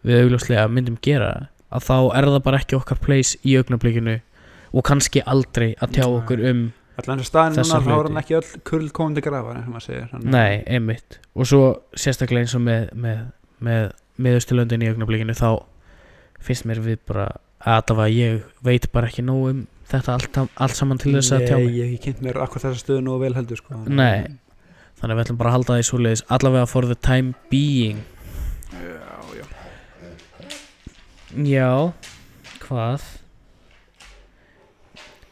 við augljóslega myndum gera að þá er það bara ekki okkar place í augnablikinu og kannski aldrei að tjá
Nei.
okkur um
allan þessi staðin núna
Þessa
þá er
hluti.
hann ekki öll kurl komin til grafa eins og maður segir þannig að-
Nei, einmitt Og svo sérstaklega eins og með með, með, með Östurlöndin í augnablikinu þá finnst mér við bara að það var ég veit bara ekki nóg um þetta allt, allt saman til þess að tjá
Nei,
mig
ég hef ekki kynnt mér akkur þessa stöðu nú vel heldur sko. þannig að-
Nei. Þannig að við ætlum bara að halda því svoleiðis allavega for the time being
já, já.
Já, hvað?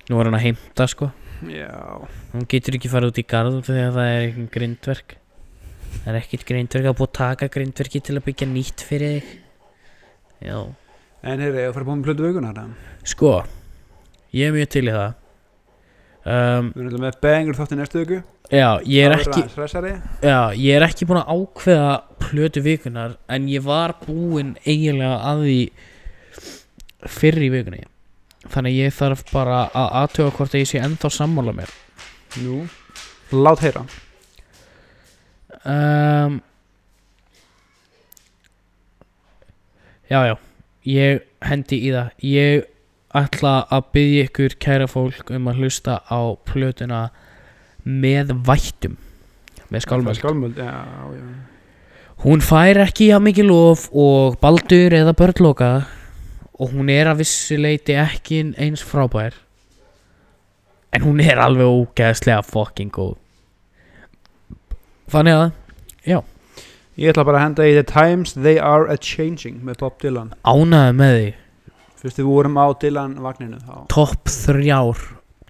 Nú er hann að heimta sko
já
Hún getur ekki farið út í garð út af því að það er ekkert grindverk Það er ekkert grindverk að búið að taka grindverki til að byggja nýtt fyrir þig Já
en heyrðu, ég að fara að búið með plötu hérna? vökunar eða?
Sko, ég er mjög til í það um,
við erum alltaf með bengur þátt í næstu vöku
Já, ég er
Það verður
ekki
aðeins hressari.
Já, ég er ekki búin að ákveða plötu vikunar En ég var búinn eiginlega að því fyrr í vikunni Þannig að ég þarf bara að aðtöga hvort að ég sé ennþá sammála mér
nú lát heyra
um, Já, já Ég hendi í það Ég ætla að byggja ykkur kæra fólk um að hlusta á plötuna með vættum með skálmöld
skálmöld já, já
Hún fær ekki á mikið lof og baldur eða börnloka og hún er að vissu leiti ekki eins frábær en hún er alveg ógeðslega fucking góð Þannig að
ég ætla bara að henda í The Times They Are A Changing með Bob Dylan
ánæðu með því
fyrst við vorum á Dylan vagninu þá
topp þrjár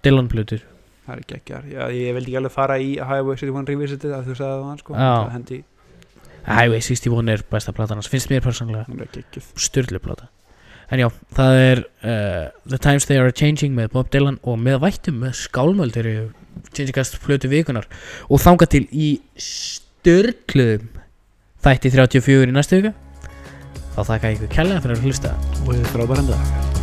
Dylan plötur
það er ekki ekki ég, ég vildi ekki alveg fara í Highway 61 Revisited að þú sagði það sko.
Já.
Það hendi í-
Highway 61 er besta platan hans finnst mér persónlega
hún er ekki ekki
styrlu plata en já það er uh, The Times They Are Changing með Bob Dylan og með vættum með skálmöld eru changingast plötu vikunar og þanga til í styrluðum þætti 34 í næstu vika þá þakka ég ykkur kærlega fyrir að hlusta
og þið þrá bara enda það